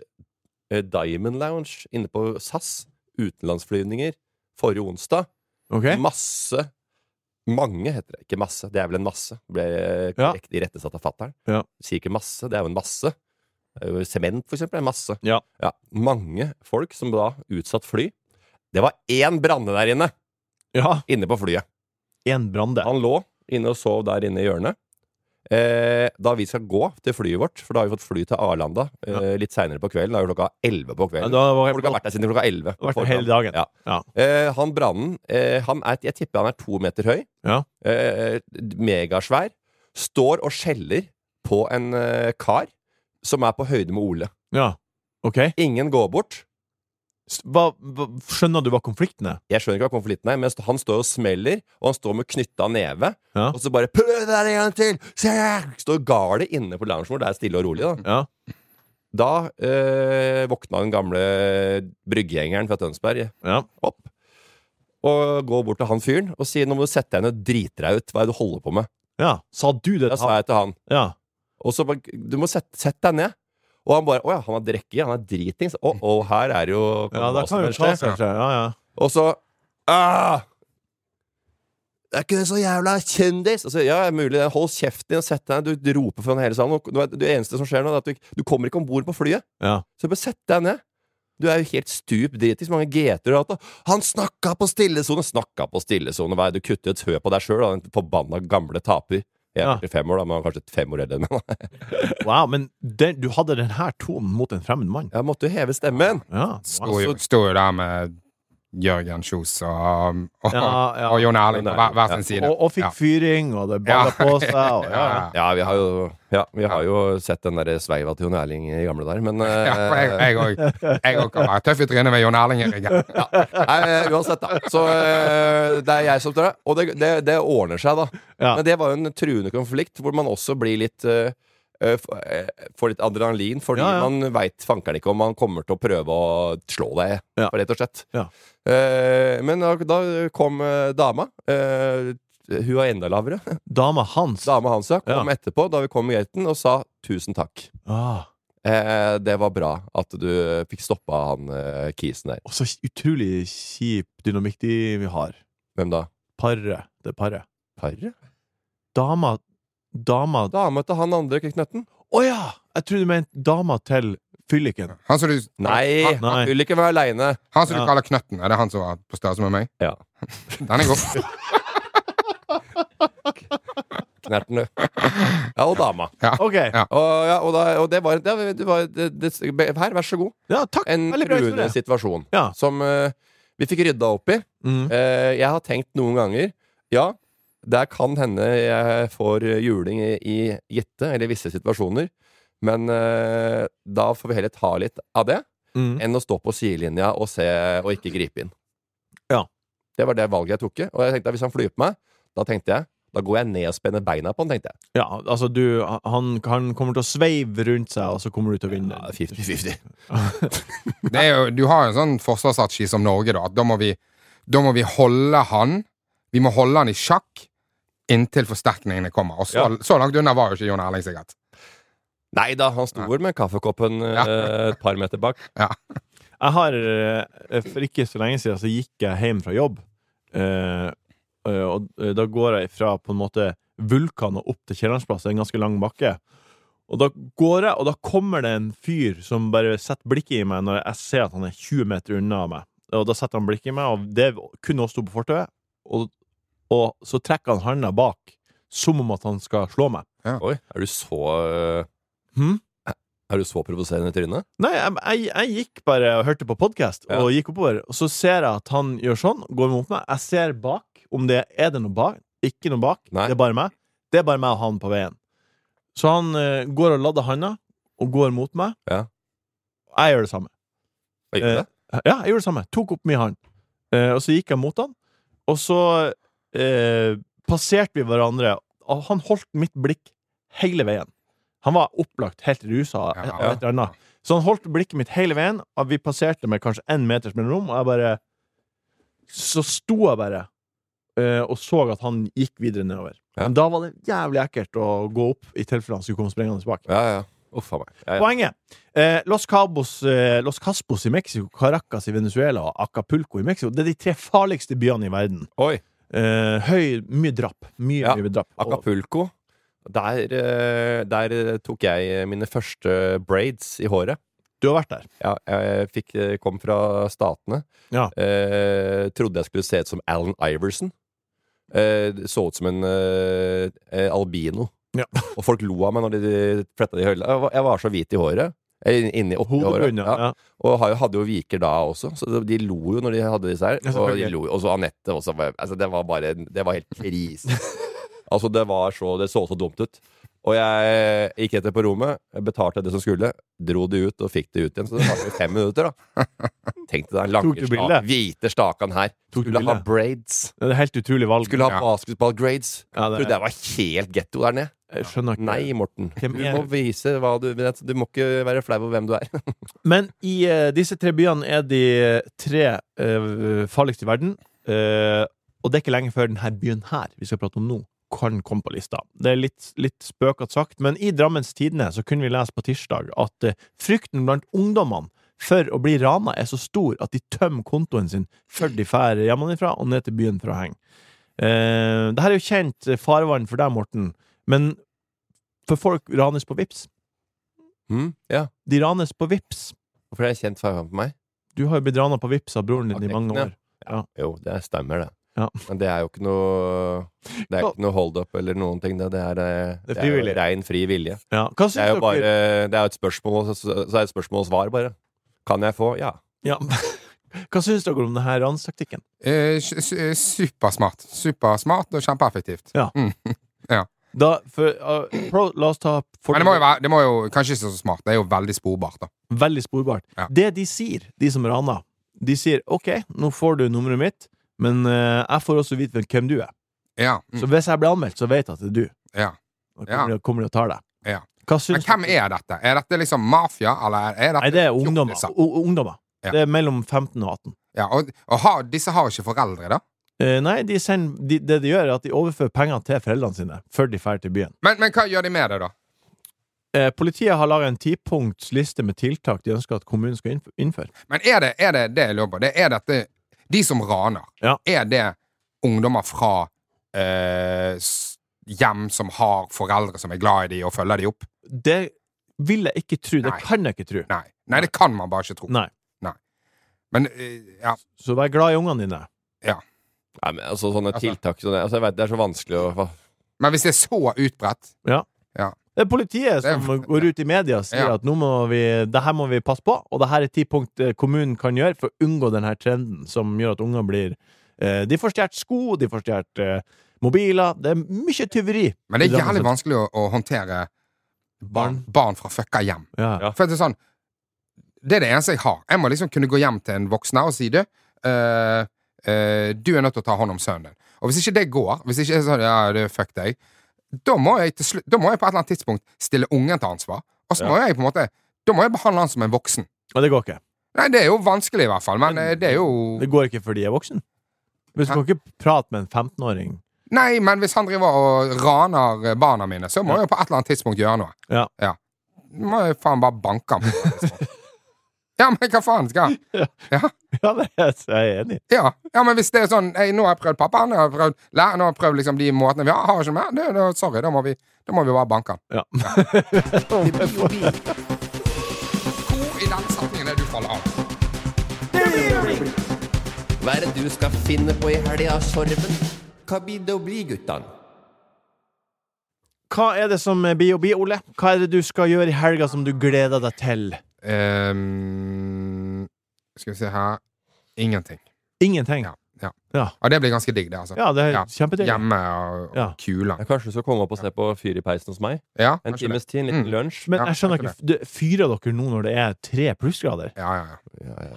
E: eh, Diamond Lounge, inne på SAS, utenlandsflyvninger, forrige onsdag.
B: Ok?
E: Masse Mange heter det. Ikke masse, det er vel en masse. Ble
B: Ja.
E: korrekt irettesatt av fattern.
B: Ja.
E: Sier ikke masse, det er jo en masse. Det er jo Sement, for eksempel, er en masse.
B: Ja.
E: Mange folk som da utsatt fly. Det var én branne der inne!
B: Ja,
E: Inne på flyet.
B: én brande.
E: Han lå inne og sov der inne i hjørnet. Eh, da vi skal gå til flyet vårt, for da har vi fått fly til Arlanda eh, litt seinere på kvelden, da er jo klokka 11 på
B: Ja,
E: kvelden.
B: Da var
E: Folk har vært der siden klokka 11.
B: vært der hele dagen.
E: Ja.
B: Ja.
E: Eh, han brannen eh, han er, Jeg tipper han er to meter høy.
B: Ja.
E: Eh, megasvær. Står og skjeller på en eh, kar som er på høyde med Ole.
B: ja. Ok?
E: Ingen går bort.
B: S- Hva, hva, skjønner du hva konflikten er?
E: Jeg skjønner ikke hva konflikten er, men st- han står og smeller, og han står med knytta neve.
B: Ja.
E: Og så bare 'prøv det der en gang til'! Se! Står gardet inne på loungen vår. Det er stille og rolig, da.
B: Ja.
E: Da eh, våkna den gamle bryggegjengeren fra Tønsberg
B: ja.
E: opp. Og går bort til han fyren og sier 'nå må du sette deg ned og drite deg ut'. Hva er det du holder på med?
B: ja. Sa du det?
E: Da sa jeg til han.
B: Ja.
E: Og så bare 'du må sette, sette deg ned'. Og han bare 'å ja, han er drekking, han er dritings'. Å, å, her er jo
B: ja, det
E: hva som
B: kan jo
E: helst
B: ta
E: skje».
B: seg. Ja, ja.
E: Og så «Ah! Det er ikke det så jævla kjendis? Altså, ja, det er mulig. det. Hold kjeften din og sett deg ned. Du roper foran hele salen. og Du, vet, det eneste som skjer nå, er at du, du kommer ikke om bord på flyet.
B: ja.
E: Så bare sett deg ned. Du er jo helt stup dritig. Så mange GT-er du har hatt. da. Han snakka på stillesone! Snakka på stillesone! Hva er det du kutter et hø på deg sjøl, den forbanna gamle taper? Jeg
B: Ja.
E: er 45 år, da, men han er kanskje fem år eldre enn meg.
B: Wow, men den, du hadde den her tonen mot en fremmed mann.
E: Jeg måtte jo heve stemmen!
B: Ja.
D: Sto jo, sto jo der med Jørgen Kjos og, og,
B: Ja, ja.
D: og Jon Erling på hver- hver sin side.
B: Og, og fikk
D: Ja.
B: fyring, og det balla
D: Ja.
B: på seg. Og, ja, ja.
E: Ja, vi har jo, ja, vi har jo sett den der sveiva til Jon Erling i gamle dager, [laughs] men eh,
D: Ja, for jeg- jeg òg. Jeg òg kan være tøff i trynet med Jon Erling i ryggen.
E: Nei, eh, uansett, da. Så eh, det er jeg som tar det. Og det, det, det ordner seg, da.
B: Ja.
E: Men det var jo en truende konflikt, hvor man også blir litt eh, eh, f- eh, Får litt adrenalin, fordi
B: Ja, ja.
E: man veit fankeren ikke om man kommer til å prøve å slå deg,
B: Ja.
E: rett og slett.
B: Ja.
E: Eh, men da, da kom eh, dama. eh, hun var enda lavere. [laughs]
B: Dama hans.
E: Dama hans ja, kom
B: Ja.
E: etterpå, da vi kom i gaten, og sa 'tusen takk'.
B: Ah,
E: Eh, det var bra at du fikk stoppa han eh, kisen der.
B: og så utrolig kjip dynamikk de vi har.
E: Hvem da?
B: Paret. Det paret.
E: Parre?
B: Dama Dama Å
E: Dama til han andre knøtten.
B: ja! Jeg trodde du mente dama til fylliken.
D: Han som du,
E: Nei,
D: han,
B: Nei.
E: han vil ikke være aleine.
D: han som du
B: Ja.
D: kaller Knøtten, er det han som var på størrelse med meg?
E: Ja.
D: [laughs] Den er god.
E: Knerten, du.
B: [laughs]
E: Ja, og dama.
B: OK.
D: Ja.
E: Og, ja, og, da, og det var, det, var- det var det, det, Her, vær så god.
B: Ja, takk.
E: En
B: Veldig bra
E: truende
B: historie.
E: situasjon
B: Ja.
E: som eh, vi fikk rydda opp i.
B: Mm.
E: Eh, jeg har tenkt noen ganger Ja, der kan hende jeg får juling i, i gitte eller visse situasjoner. Men eh, da får vi heller ta litt av det
B: Mm.
E: enn å stå på sidelinja og se og ikke gripe inn.
B: Ja.
E: Det var det valget jeg tok. Og jeg tenkte at hvis han flyr på meg, da tenkte jeg da går jeg ned og spenner beina på han, tenkte jeg.
B: Ja, altså du Han, han kommer til å sveive rundt seg, og så kommer du til å vinne.
E: Ja, 50-50.
D: Det er jo, du har jo en sånn forsvarsstrategi som Norge, da. At da må vi, da må vi holde han Vi må holde han i sjakk inntil forsterkningene kommer. Og så,
B: Ja.
D: så langt unna var jo ikke Jon Erling, sikkert.
E: Nei da, han sto vel med kaffekoppen eh, et par meter
B: [laughs]
E: bak.
B: Jeg har eh, For ikke så lenge siden så gikk jeg hjem fra jobb. Eh, eh, og eh, da går jeg fra på en måte Vulkan og opp til Kiellandsplass, en ganske lang bakke. Og da går jeg, og da kommer det en fyr som bare setter blikket i meg når jeg ser at han er 20 meter unna meg. Og da setter han blikket i meg, og det kunne også stå på fortauet. Og, og så trekker han handa bak, som om at han skal slå meg.
E: Oi, er du så eh,
B: Hm?
E: Er du så provoserende i trynet?
B: Nei, jeg, jeg, jeg gikk bare og hørte på podkast,
E: Ja.
B: og gikk oppover. Og så ser jeg at han gjør sånn, går mot meg. Jeg ser bak om det er det noe bak. Ikke noe bak.
E: Nei.
B: Det er bare meg. Det er bare meg og han på veien. Så han eh, går og lader handa, og går mot meg.
E: Ja.
B: Jeg gjør det samme.
E: Hva gjør
B: Eh,
E: du det?
B: Ja, jeg gjorde det samme. Tok opp min hånd. Eh, og så gikk jeg mot han, og så eh, passerte vi hverandre. Og han holdt mitt blikk hele veien. Han var opplagt helt rusa av
D: Ja.
B: av et eller annet. Så han holdt blikket mitt hele veien, og vi passerte med kanskje én meters mellomrom, og jeg bare Så sto jeg bare eh, og så at han gikk videre nedover.
E: Ja.
B: Men da var det jævlig ekkelt å gå opp, i tilfelle han skulle komme sprengende tilbake.
E: Ja, ja. Uff a meg. Ja, ja.
B: Poenget. Eh, Los, Cabos, eh, Los Caspos i Mexico, Caracas i Venezuela og Acapulco i Mexico. Det er de tre farligste byene i verden.
E: Oi.
B: Eh, høy, mye drap. Mye,
E: Ja,
B: mye drap. Og,
E: Acapulco. Der, eh, der eh, tok jeg eh, mine første braids i håret.
B: du har vært der.
E: Ja, jeg fikk, eh, kom fra Statene.
B: Ja.
E: Eh, trodde jeg skulle se ut som Alan Iverson. Eh, så ut som en eh, eh, albino.
B: Ja.
E: Og folk lo av meg når de fletta de høyla. Jeg, var- jeg var så hvit i håret. Eh, Inni oppi håret.
B: Hodebunnen,
E: Ja.
B: ja.
E: Og har jo- hadde jo viker da også, så de lo jo når de hadde disse her.
B: Ja,
E: og de
B: selvfølgelig.
E: lo jo. Og så
B: [laughs]
E: Anette også. var- Altså, det var bare Det var helt krise. altså, det var så Det så så dumt ut. Og jeg gikk etter på rommet, jeg betalte det som skulle, dro det ut og fikk det ut igjen. Så det tar jo fem minutter, da.
B: [laughs]
E: Tenk deg den
B: Tok du bildet?
E: lange, stak, hvite stakan her.
B: Tok du
E: Skulle ha
B: bildet?
E: braids.
B: Det er et helt utrolig valg.
E: Skulle ha
D: Ja.
E: basketball-grades.
B: Ja, det-
E: Trodde jeg var helt getto der nede.
B: Jeg skjønner ikke.
E: Nei, Morten. Du
B: Hvem er
E: må
B: du?
E: vise hva du Du må ikke være flau over hvem du er. [laughs]
B: Men i eh, disse tre byene er de tre eh, farligste i verden. Eh, og det er ikke lenge før denne byen her vi skal prate om nå, kan komme på lista. Det er litt, litt spøkete sagt, men i Drammens Tidende så kunne vi lese på tirsdag at eh, frykten blant ungdommene for å bli rana er så stor at de tømmer kontoen sin før de drar hjemmefra og ned til byen for å henge. Uh, Dette er jo kjent farvann for deg, Morten, men for folk ranes på vips. Hm?
E: Mm, ja.
B: De ranes på vips.
E: Hvorfor er det kjent farge på meg?
B: Du har jo blitt rana på Vipps av broren din
E: Av
B: i mange
E: knekten,
B: år. Ja.
E: Jo, det stemmer, det.
B: Ja.
E: Men det er jo ikke noe Det er ikke noe hold-up eller noen ting. Det, det, er, eh,
B: Det er
E: det er jo
B: frivillig.
E: rein fri vilje.
B: Ja. Hva syns
E: Det er jo
B: dere?
E: bare Det er jo et spørsmål, og så, så er det et spørsmål og svar, bare. Kan jeg få? Ja.
B: Ja. [laughs] Hva syns dere om denne ranstaktikken?
D: Eh, s- s- supersmart. Supersmart og kjempeeffektivt.
B: Ja.
D: Mm.
B: Da, for, uh, pro, la oss ta for,
D: Men det må, jo være, det må jo kanskje ikke så smart. Det er jo veldig sporbart, da.
B: Veldig sporbart.
D: Ja.
B: Det de sier, de som raner, de sier OK, nå får du nummeret mitt, men eh, jeg får også vite hvem du er.
D: Ja. Mm.
B: Så hvis jeg blir anmeldt, så vet jeg at det er du.
D: ja.
B: Da kommer,
D: Ja.
B: de, kommer de og tar deg.
D: Ja.
B: Hva
D: Men
B: syns
D: hvem
B: dere?
D: er dette? Er dette liksom mafia, eller er dette
B: Nei, det er ungdommer.
D: fjortiser?
B: U- ungdommer.
D: liksom. Ja.
B: Det er mellom 15 og 18.
D: Ja, og, og har, disse har ikke foreldre, da?
B: Eh, nei, de sender, de, det de gjør, er at de overfører penger til foreldrene sine før de drar til byen.
D: Men, men hva gjør de med det, da?
B: Eh, Politiet har laga en tipunktsliste med tiltak de ønsker at kommunen skal innf- innføre.
D: Men er det er det, det jeg lurer på? Det er dette De som raner,
B: Ja.
D: er det ungdommer fra eh, s- hjem som har foreldre som er glad i dem og følger dem opp?
B: Det vil jeg ikke tro. Det
D: Nei.
B: kan jeg ikke tro.
D: Nei. Nei, det kan man bare ikke tro.
B: Nei.
D: Men eh, ja.
B: Så vær glad i ungene dine.
E: Nei, men altså, sånne
D: Altså-
E: tiltak som det altså, jeg vet, Det er så vanskelig å hva-
D: Men hvis det er så utbredt
B: Det er politiet som
D: Det er-
B: går ut i media og sier
D: Ja.
B: at nå må vi, det her må vi passe på, og det her er ti punkt eh, kommunen kan gjøre for å unngå denne trenden som gjør at unger blir eh, De får stjålet sko, de får stjålet eh, mobiler Det er mye tyveri.
D: Men det
B: i
D: er
B: Drammen
D: jævlig
B: sentrum.
D: vanskelig å, å håndtere barn, barn fra fucka hjem.
B: Ja.
E: Ja.
D: For det er sånn Det er det eneste jeg har. Jeg må liksom kunne gå hjem til en voksen her og si du, eh, eh, du er nødt til å ta hånd om sønnen din. Og hvis ikke det går, hvis ikke det er sånn ja, du, fuck deg, da må, jeg til slutt, da må jeg på et eller annet tidspunkt stille ungen til ansvar. Og så må jeg på en måte Da må jeg behandle han som en voksen.
B: Og det går ikke.
D: Nei, det er jo vanskelig, i hvert fall, men eh, det er jo
B: Det går ikke fordi jeg er voksen. Hvis du
D: Hæ?
B: kan ikke prate med en 15-åring
D: Nei, men hvis han driver og raner eh, barna mine, så må jeg jo på et eller annet tidspunkt gjøre noe.
B: Ja. [laughs]
D: ja. Må jeg faen bare banke ham. på et eller annet tidspunkt. Ja, men hva faen skal
B: Ja, det er jeg er enig i.
D: Ja, ja, men hvis det er sånn hey, Nå har jeg prøvd pappaen, nå har jeg prøvd læreren, nå har jeg prøvd liksom de måtene vi har. Har ikke mer. Det, det, sorry, da må, vi, da må vi bare banke han.
B: Ja.
D: Hvor i den setningen er det du faller av?
C: Hva er det du skal finne på i helga, Sorven? Hva blir det å bli, guttan?
B: [laughs] Hva er det som blir å bli, Ole? Hva er det du skal gjøre i helga som du gleder deg til?
D: Ehm, skal vi se her Ingenting.
B: Ingenting.
D: Ja. Ja.
B: Ja.
D: Og det blir ganske digg, det, altså.
B: Ja, det er
D: Ja.
B: kjempedeilig.
D: Hjemme og, og
B: Ja.
D: kulen.
E: Jeg Kanskje du skal komme opp og se på Fyr i peisen hos meg?
D: Ja,
E: En
D: kanskje det.
E: times tid, en liten
D: Mm.
E: lunsj?
B: Men
D: Ja,
B: jeg skjønner
D: jeg
B: ikke du- Fyrer dere nå når det er tre plussgrader?
D: Ja, ja, ja.
E: Ja, ja.
D: Men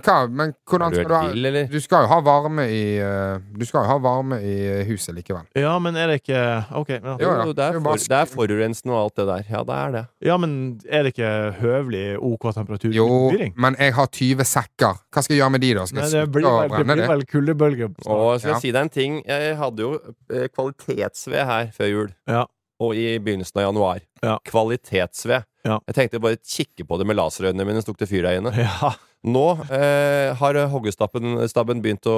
D: hva Men
E: Er
D: hvordan
E: du
D: skal du ha
E: helt vill, eller?
D: Du skal jo ha varme i eh, Du skal jo ha varme i huset likevel.
B: Ja, men er det ikke Ok.
D: Jo,
B: Ja,
D: ja.
E: Jo, det
D: Det
E: er,
D: er
E: for,
D: bare-
E: det er forurensende og alt det der. Ja, det er det.
B: ja men er det ikke høvelig OK temperatur?
D: Jo,
B: Fyring?
D: men jeg har 20 sekker. Hva skal jeg gjøre med de, da? Skal
B: Nei,
D: jeg
B: det
D: slutte
B: blir
D: å
B: vel, det
D: brenne
B: blir
D: de?
B: vel kuldebølger.
E: Og jeg skal
D: Ja.
E: si deg en ting. Jeg hadde jo eh, kvalitetsved her før jul.
B: Ja.
E: Og i begynnelsen av januar.
B: Ja.
E: Kvalitetsved.
B: Ja.
E: Jeg tenkte bare kikke på det med laserøynene mine, så tok det fyr der inne.
B: [laughs] Ja.
E: Nå eh, har hoggestappen stabben begynt å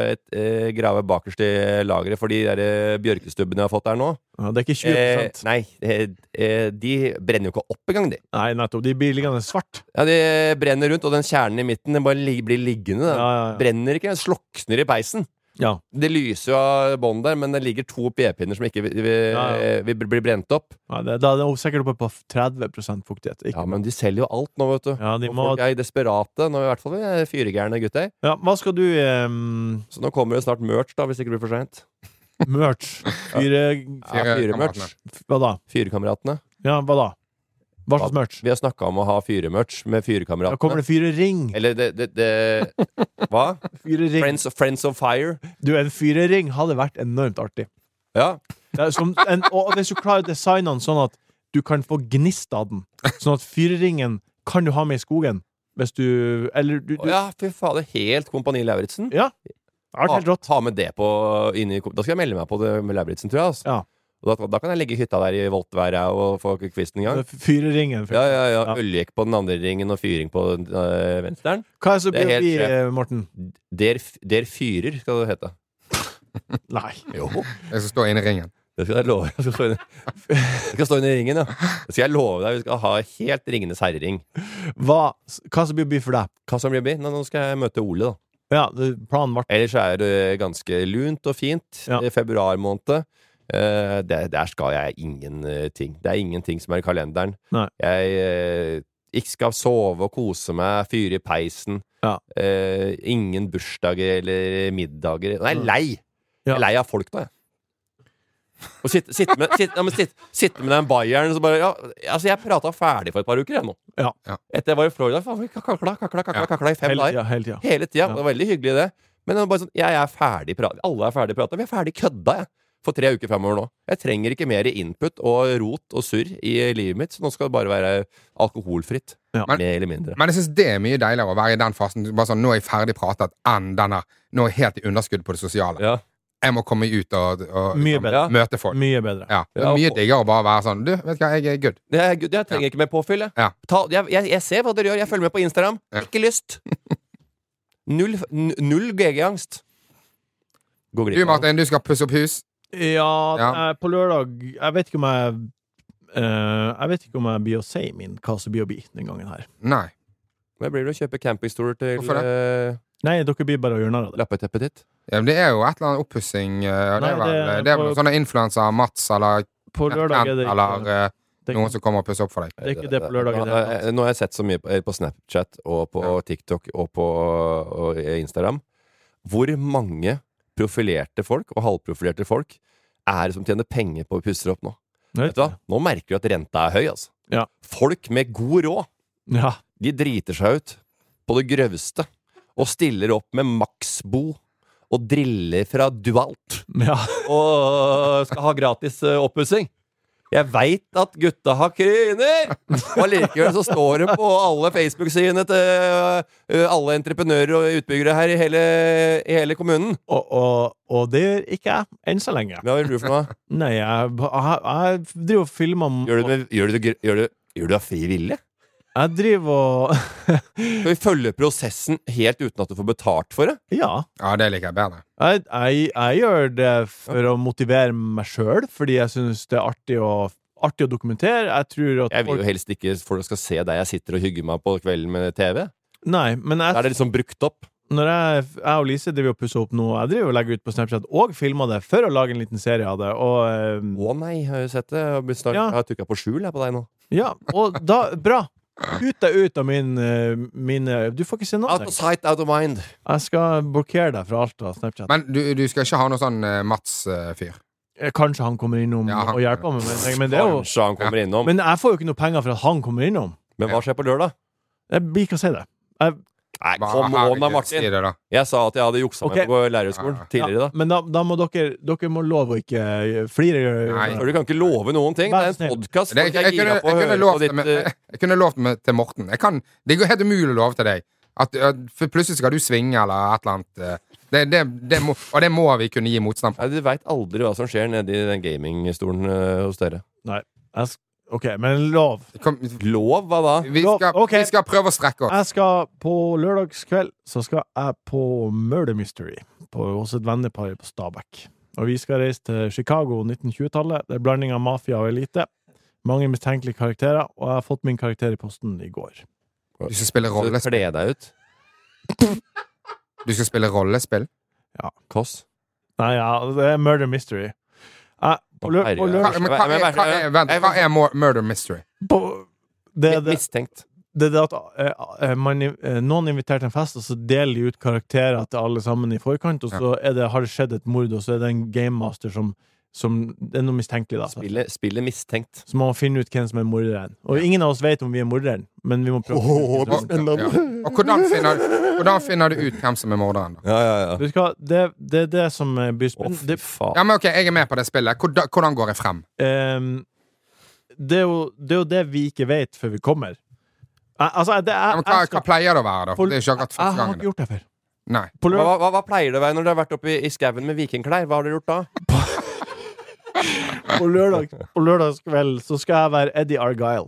E: eh, grave bakerst i lageret for de der eh, bjørkestubbene jeg har fått der nå.
B: ja. Det er ikke 20
E: Eh, nei, eh, eh, de brenner jo ikke opp engang, de.
B: Nei, nettopp. De blir liggende svart.
E: Ja, De brenner rundt, og den kjernen i midten den bare lig blir liggende. Den.
B: Ja, ja, ja.
E: Brenner ikke, den slokner i peisen.
B: Ja.
E: Det lyser jo av bånd der, men det ligger to vedpinner som ikke vil, vil,
B: Ja, ja.
E: vil bli brent opp.
B: Nei, det, da er det sikkert oppe på 30 fuktighet. Ikke.
E: Ja, men de selger jo alt nå, vet du.
B: Ja, de
E: Og
B: må,
E: Folk er desperate. Nå er i hvert fall vi fyregærne gutter.
B: ja, hva skal du ehm,
E: Så nå kommer det snart merch, da, hvis ikke det blir for seint.
B: Merch. Fyre...
E: Ja, Fyremerch.
B: Hva da?
E: Fyrekameratene.
B: Ja, hva da? Hva slags merch?
E: Vi har snakka om å ha fyremerch med
B: Da kommer
E: Fyrekameratene.
B: det fyrering.
E: Eller det, det, det Hva?
B: fyrering.
E: Friends, Friends of Fire.
B: Du, en fyrering hadde vært enormt artig.
E: Ja.
B: Det er som en, og hvis du klarer å designe den sånn at du kan få gnist av den, sånn at fyreringen kan du ha med i skogen hvis du Eller du,
E: Å
B: du
E: ja, fy fader. Helt Kompani Lauritzen.
B: Ja. Artig
E: Ha,
B: helt rått.
E: ha med det på inn i, kom- Da skal jeg melde meg på det med Lauritzen, tror jeg. Altså.
B: Ja.
E: Og Da, da kan jeg ligge i hytta der i voltværet og få kvisten i gang.
B: Fyreringen.
E: Ja, ja, ja.
B: Ja.
E: Øljekk på den andre ringen og fyring på den øh, vensteren.
B: Hva er det som
E: Det er
B: blir
E: helt
B: vi,
E: sjef.
B: eh, Morten?
E: Der, f- der fyrer, skal det hete.
B: Nei.
E: Jo.
D: Jeg som står inne i ringen.
E: Det skal jeg love. Jeg skal stå inne, jeg skal stå inne i ringen, ja. Det skal jeg love deg. Vi skal ha helt Ringenes herre-ring.
B: Hva, hva som blir by for deg?
E: Hva som blir by? Nå, nå skal jeg møte Ole, da.
B: Ja, det- planen ble
E: Ellers er det ganske lunt og fint
B: Ja.
E: i februar måned. Eh, der, der skal jeg ingenting. Det er ingenting som er i kalenderen.
B: Nei.
E: Jeg eh, ikke skal sove og kose meg, fyre i peisen.
B: Ja.
E: Eh, ingen bursdager eller middager. Nei, jeg er lei! Jeg
B: Ja.
E: er lei av folk nå, jeg. Og sitte, sitte, med, sitte, ja, men sitte, sitte med den bayeren så bare ja, Altså, jeg prata ferdig for et par uker, jeg nå.
B: Ja.
D: Ja.
E: Etter jeg var i Florida, faen, vi kakla, kakla, kakla,
D: Ja.
E: kakla i fem
B: hele
E: dager.
B: tida. Hele tida.
E: Hele tida.
B: Ja.
E: Det var veldig hyggelig, det. Men det var bare sånn, jeg er ferdig prata. Alle er ferdig prata. Vi er ferdig kødda, jeg. For tre uker fremover nå. Jeg trenger ikke mer input og rot og surr i livet mitt. Så nå skal det bare være alkoholfritt.
B: Ja.
E: Mer eller mindre.
D: Men jeg syns det er mye deiligere å være i den fasen. Bare sånn, nå er jeg ferdig pratet, enn den der. Nå er jeg helt i underskudd på det sosiale.
E: Ja.
D: Jeg må komme ut og, og
B: Mye
D: liksom,
B: bedre.
D: møte folk.
B: Mye bedre.
D: Ja. Det
E: Ja,
D: er mye
E: og-
D: diggere å bare være sånn Du, vet du hva, jeg er good.
E: Det er, good. jeg trenger ikke mer påfyll, jeg.
D: Ja.
E: Ta, jeg, jeg. Jeg ser hva dere gjør. Jeg følger med på Instagram.
D: Ja.
E: Ikke lyst. Null, n- null GG-angst. Gå
D: Du,
E: glipp av det.
D: Martin, du skal pusse opp hus.
B: Ja,
D: Ja.
B: eh, på lørdag Jeg vet ikke om jeg eh, Jeg vet ikke om jeg blir å si min hva som blir å bli den gangen her.
D: Nei.
E: Hva blir det å kjøpe campingstol til
D: Hvorfor det?
E: eh,
B: Nei, dere blir bare å gjøre narr av det.
E: lappeteppet ditt?
D: Ja, men det er jo et eller annet oppussing. eh, Det
B: Nei,
D: er vel
B: det er
D: det er vel
B: på-
D: noen sånne influenser, Mats eller
B: På lørdag er det ikke
D: eller eh,
B: det er
D: noen
B: ikke-
D: som kommer og pusser opp for deg.
B: Det er ikke det på lørdag,
E: Nå,
B: det er sant.
E: nå har jeg sett så mye på, eh, på Snapchat og på
D: Ja.
E: TikTok og på og Instagram. Hvor mange profilerte folk og halvprofilerte folk er det som tjener penger på å pusse opp nå?
B: Nei,
E: Vet du hva? Nå merker du at renta er høy, altså.
B: Ja.
E: Folk med god råd,
B: Ja.
E: de driter seg ut på det grøvste og stiller opp med maksbo og driller fra Dualt
B: ja.
E: og skal ha gratis eh, oppussing. Jeg veit at gutta har kryner! Og likevel så står det på alle Facebook-sidene til eh, alle entreprenører og utbyggere her i hele, i hele kommunen.
B: Og, og, og det gjør ikke jeg, enn så lenge.
E: Hva gjør du for noe?
B: Nei, jeg, jeg, jeg driver og filmer om-
E: Gjør du det med- gjør du det gr- gjør du- gjør du det av fri vilje?
B: Jeg driver og [laughs]
E: Skal vi følge prosessen helt uten at du får betalt for det?
B: Ja.
D: Ja, det liker jeg bedre.
B: Jeg, jeg, jeg gjør det for å motivere meg sjøl, fordi jeg syns det er artig å, artig å dokumentere. Jeg tror at
E: Jeg vil jo helst ikke folk skal se deg jeg sitter og hygger meg på kvelden med TV.
B: Nei, men
E: Da
B: jeg,
E: er det liksom brukt opp.
B: når jeg, jeg og Lise driver og pusser opp nå, jeg driver og legger ut på Snapchat og filmer det for å lage en liten serie av det, og eh,
E: Å nei, jeg har jo sett det. Jeg har blitt snart-
B: Ja.
E: jeg har tukka på skjul jeg på deg nå.
B: Ja, og da Bra! Ut deg ut av min, eh, mine Du får ikke se noe.
D: Altså,
E: Out of sight, out of mind.
B: Jeg skal blokkere deg fra alt av Snapchat.
D: Men du, du skal ikke ha noen sånn Mats-fyr.
B: Eh, Kanskje han kommer innom
D: Ja, han-
B: og hjelper meg, men, men, det er jo,
E: Kanskje han kommer innom. Men,
B: men jeg får jo ikke noe penger for at han kommer innom.
E: hva skjer på lørdag?
B: Jeg blir ikke å si det. Jeg,
E: Nei, kom on da, Martin.
D: det, da.
E: Jeg sa at jeg hadde juksa
B: Ok.
E: meg på lærerskolen
D: Ja.
E: tidligere, da.
B: Men da, da må dere Dere må love å ikke eh, flire.
D: Nei.
E: For du kan ikke love noen ting. Det
B: Vær
E: er
B: snill.
E: en podkast.
D: Det, jeg, jeg, kunne, jeg, kunne lovt det med,
E: eh,
D: [laughs] jeg, kunne lovt det med, til Morten. Jeg kan, det er jo helt umulig å love til deg. At, at for plutselig skal du svinge eller et eller annet. eh, Det, det, det må, og det må vi kunne gi motstand på.
E: Nei, Du veit aldri hva som skjer nedi den gamingstolen eh, hos dere.
B: Jeg sk- OK, men lov.
D: Kom,
E: Lov, hva da?
D: vi, skal,
B: Ok.
D: vi skal prøve å strekke oss.
B: Jeg skal På lørdagskveld så skal jeg på Murder Mystery på, hos et vennepar på Stabekk. Og vi skal reise til Chicago 1920-tallet. Det er blanding av mafia og elite. Mange mistenkelige karakterer, og jeg har fått min karakter i posten i går.
D: Du skal spille
E: Så
D: rollespill.
E: Kle deg ut.
D: Du skal spille rollespill.
E: Kåss.
B: Nei, ja, det er Murder Mystery. Jeg, på lø, på
E: Herregud.
D: Hva,
B: lørdag,
D: men hva, er, hva, er, vent, hva er mor- murder mystery?
B: på, det, er det,
E: Mistenkt.
B: det er det at eh, eh, man, eh, noen inviterer til en fest, og så deler de ut karakterer til alle sammen i forkant, og så er det, har det skjedd et mord, og så er det en gamemaster som, som Det er noe mistenkelig, da.
E: Spillet, spillet mistenkt.
B: Så må man finne ut hvem som er morderen. Og ingen av oss vet om vi er morderen, men vi må prøve. å finne ut hvem som er morderen.
D: Ja. Og hvordan finner, hvordan finner du ut hvem som er morderen? da?
E: Ja, ja, ja.
B: Vet du hva, det, det er det som eh, blir
E: Å,
B: spennende.
E: fy faen.
D: Ja, men ok, Jeg er med på det spillet. Hvordan, hvordan går jeg frem?
B: Det, ehm, det, er jo, det er jo det vi ikke vet før vi kommer. Jeg, altså, det
D: Ja,
B: er,
D: men hva,
B: jeg,
D: hva
B: skal,
D: pleier det å være, da? For Det er jo ikke akkurat
B: jeg
D: første
B: har
D: gangen.
B: ikke gjort det før.
D: det- Nei.
B: På
E: Hva,
B: lørdag,
E: hva, hva pleier det å være når du har vært oppe i, i skauen med vikingklær? Hva har dere gjort da?
B: på lørdag, på lørdagskveld så skal jeg være Eddie Argyle.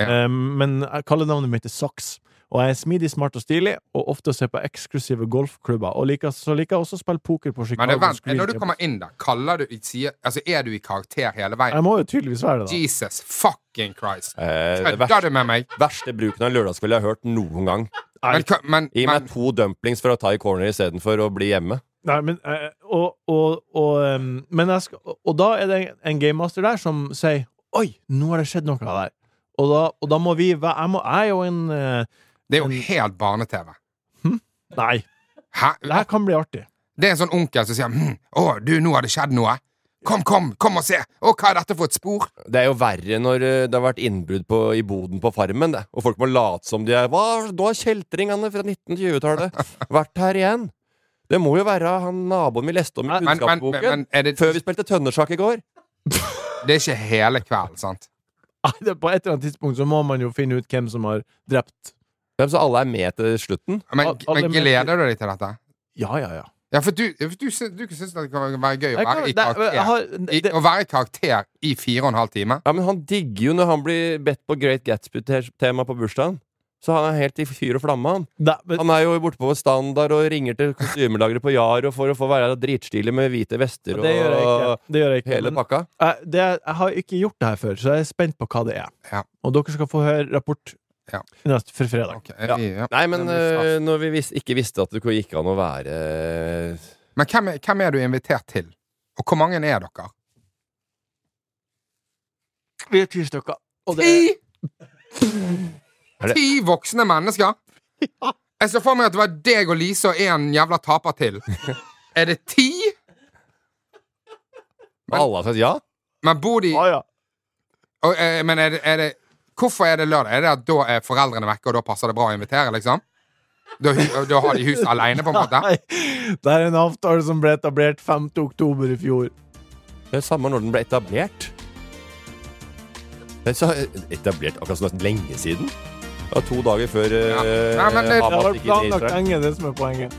D: Ja.
B: Ehm, men jeg kaller navnet mitt er Socks. Og jeg er smidig, smart og stilig, og ofte ser på eksklusive golfklubber. Og liker, så liker jeg også å spille poker på
D: Men
B: Chicago
D: det, vent,
B: Screen
D: når du
B: Tables.
D: kommer inn, da, kaller du sier, altså, er du i karakter hele veien?
B: Jeg må jo tydeligvis være det, da.
D: Jesus fucking Christ.
E: Eh, det
D: Kødder
E: verste,
D: du med meg?
E: verste bruken av lørdagskveld jeg har hørt noen gang.
D: Men, hva- men,
E: Gi meg
D: men
E: to dumplings for å ta i corner istedenfor å bli hjemme.
B: Nei, men, eh, og, og, og, ehm, men jeg skal, og da er det en- en gamemaster der som sier Oi, nå har det skjedd noe der. Og da, og da må vi væ- Jeg, må, jeg er jo en eh,
D: det er jo helt barne-TV.
B: Nei, det
D: Hæ?
B: her kan bli artig. [laughs]
D: Det er en sånn onkel som sier hm, 'Å, du, nå har det skjedd noe'. Kom, kom, kom og se! Å, hva er dette for et spor?
E: Det er jo verre når eh, det har vært innbrudd på, i boden på farmen, det. og folk må late som de er Hva, Nå har kjeltringene fra 1920-tallet vært her igjen! Det må jo være han naboen vi leste om i
B: Men-
D: Men, men, men,
E: kunnskapsboken.
D: men er det,
E: Før vi spilte tønnesjakk i går.
D: det er ikke hele kvelden, sant?
B: Nei, det, på et eller annet tidspunkt så må man jo finne ut hvem som har drept.
E: Ja, Så alle er med til slutten.
D: Men,
B: Al- alle
D: men gleder du deg til dette?
B: Ja, ja, ja.
D: Ja, for du, du, sy- du syns det kan være gøy å
B: Jeg
D: være
B: kan-
D: i
B: det-
D: karakter.
B: jeg har-
D: I,
B: det-
D: å være i karakter i fire og en halv time?
E: Ja, men han digger jo når han blir bedt på Great Gatsby-tema på bursdagen. Så han er helt i fyr og flamme, han.
B: Da- men-
E: Han er jo borte på standard og ringer til kostymelageret på Yaro for å få være dritstilig med hvite vester
B: Det gjør jeg ikke.
E: og
B: Det gjør jeg ikke.
E: hele
B: men-
E: pakka.
B: Jeg, det, jeg har ikke gjort det her før, så jeg er spent på hva det er.
D: Ja.
B: Og dere skal få høre rapport
D: Ja.
B: neste, for fredag.
D: Ok,
E: Ja.
D: vi- ja.
E: Nei, men
D: Det blir
E: øh,
D: straff.
E: når vi vis ikke visste at det gikk an å være eh,
D: Men hvem er, hvem er du invitert til? Og hvor mange er dere?
B: Vi er ti stykker. Og det,
D: Ti!
E: Er det-
D: Ti voksne mennesker? Jeg ser for meg at det var deg og Lise og en jævla taper til. Er det ti?
E: Men alle har sagt ja.
D: Men bor de
B: Å, ja.
D: og, eh, Men er det, er det Hvorfor er det lørdag? Er det at da er foreldrene vekke, og da passer det bra å invitere, liksom? Da, hu- da har de huset aleine, på en
B: [laughs]
D: måte?
B: Nei, det er en avtale som ble etablert 5. oktober i fjor.
E: Det er samme når den ble etablert. Det er så etablert akkurat sånn lenge siden. Det var to dager før øh,
D: Nei, men det-
E: Hamas
B: Det har vært
E: gikk inn i
B: planlagt
E: Israel.
B: lenge, det som er poenget.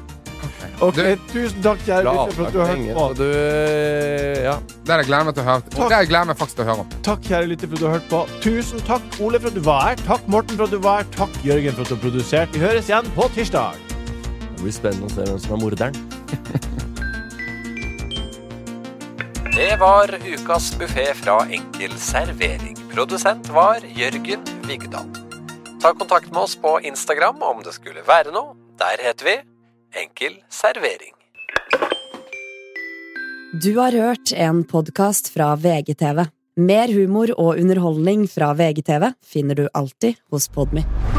B: Ok, Tusen takk, kjære lytter, for at
E: Planlagt
B: du har
E: lenge,
B: hørt på.
E: så du øh, Ja.
D: Det er det jeg gleder meg til å høre. Det er jeg gleder meg faktisk til å høre om.
B: Takk, kjære lytter, for at du har hørt på. Tusen takk, Ole, for at du var her. Takk, Morten, for at du var her. Takk, Jørgen, for at du har produsert. Vi høres igjen på tirsdag.
E: Det blir spennende å se hvem som er morderen.
G: Det var ukas buffé fra Enkel servering. Produsent var Jørgen Vigdal. Ta kontakt med oss på Instagram om det skulle være noe. Der heter vi Enkel servering.
A: Du har hørt en podkast fra VGTV. Mer humor og underholdning fra VGTV finner du alltid hos Podmy.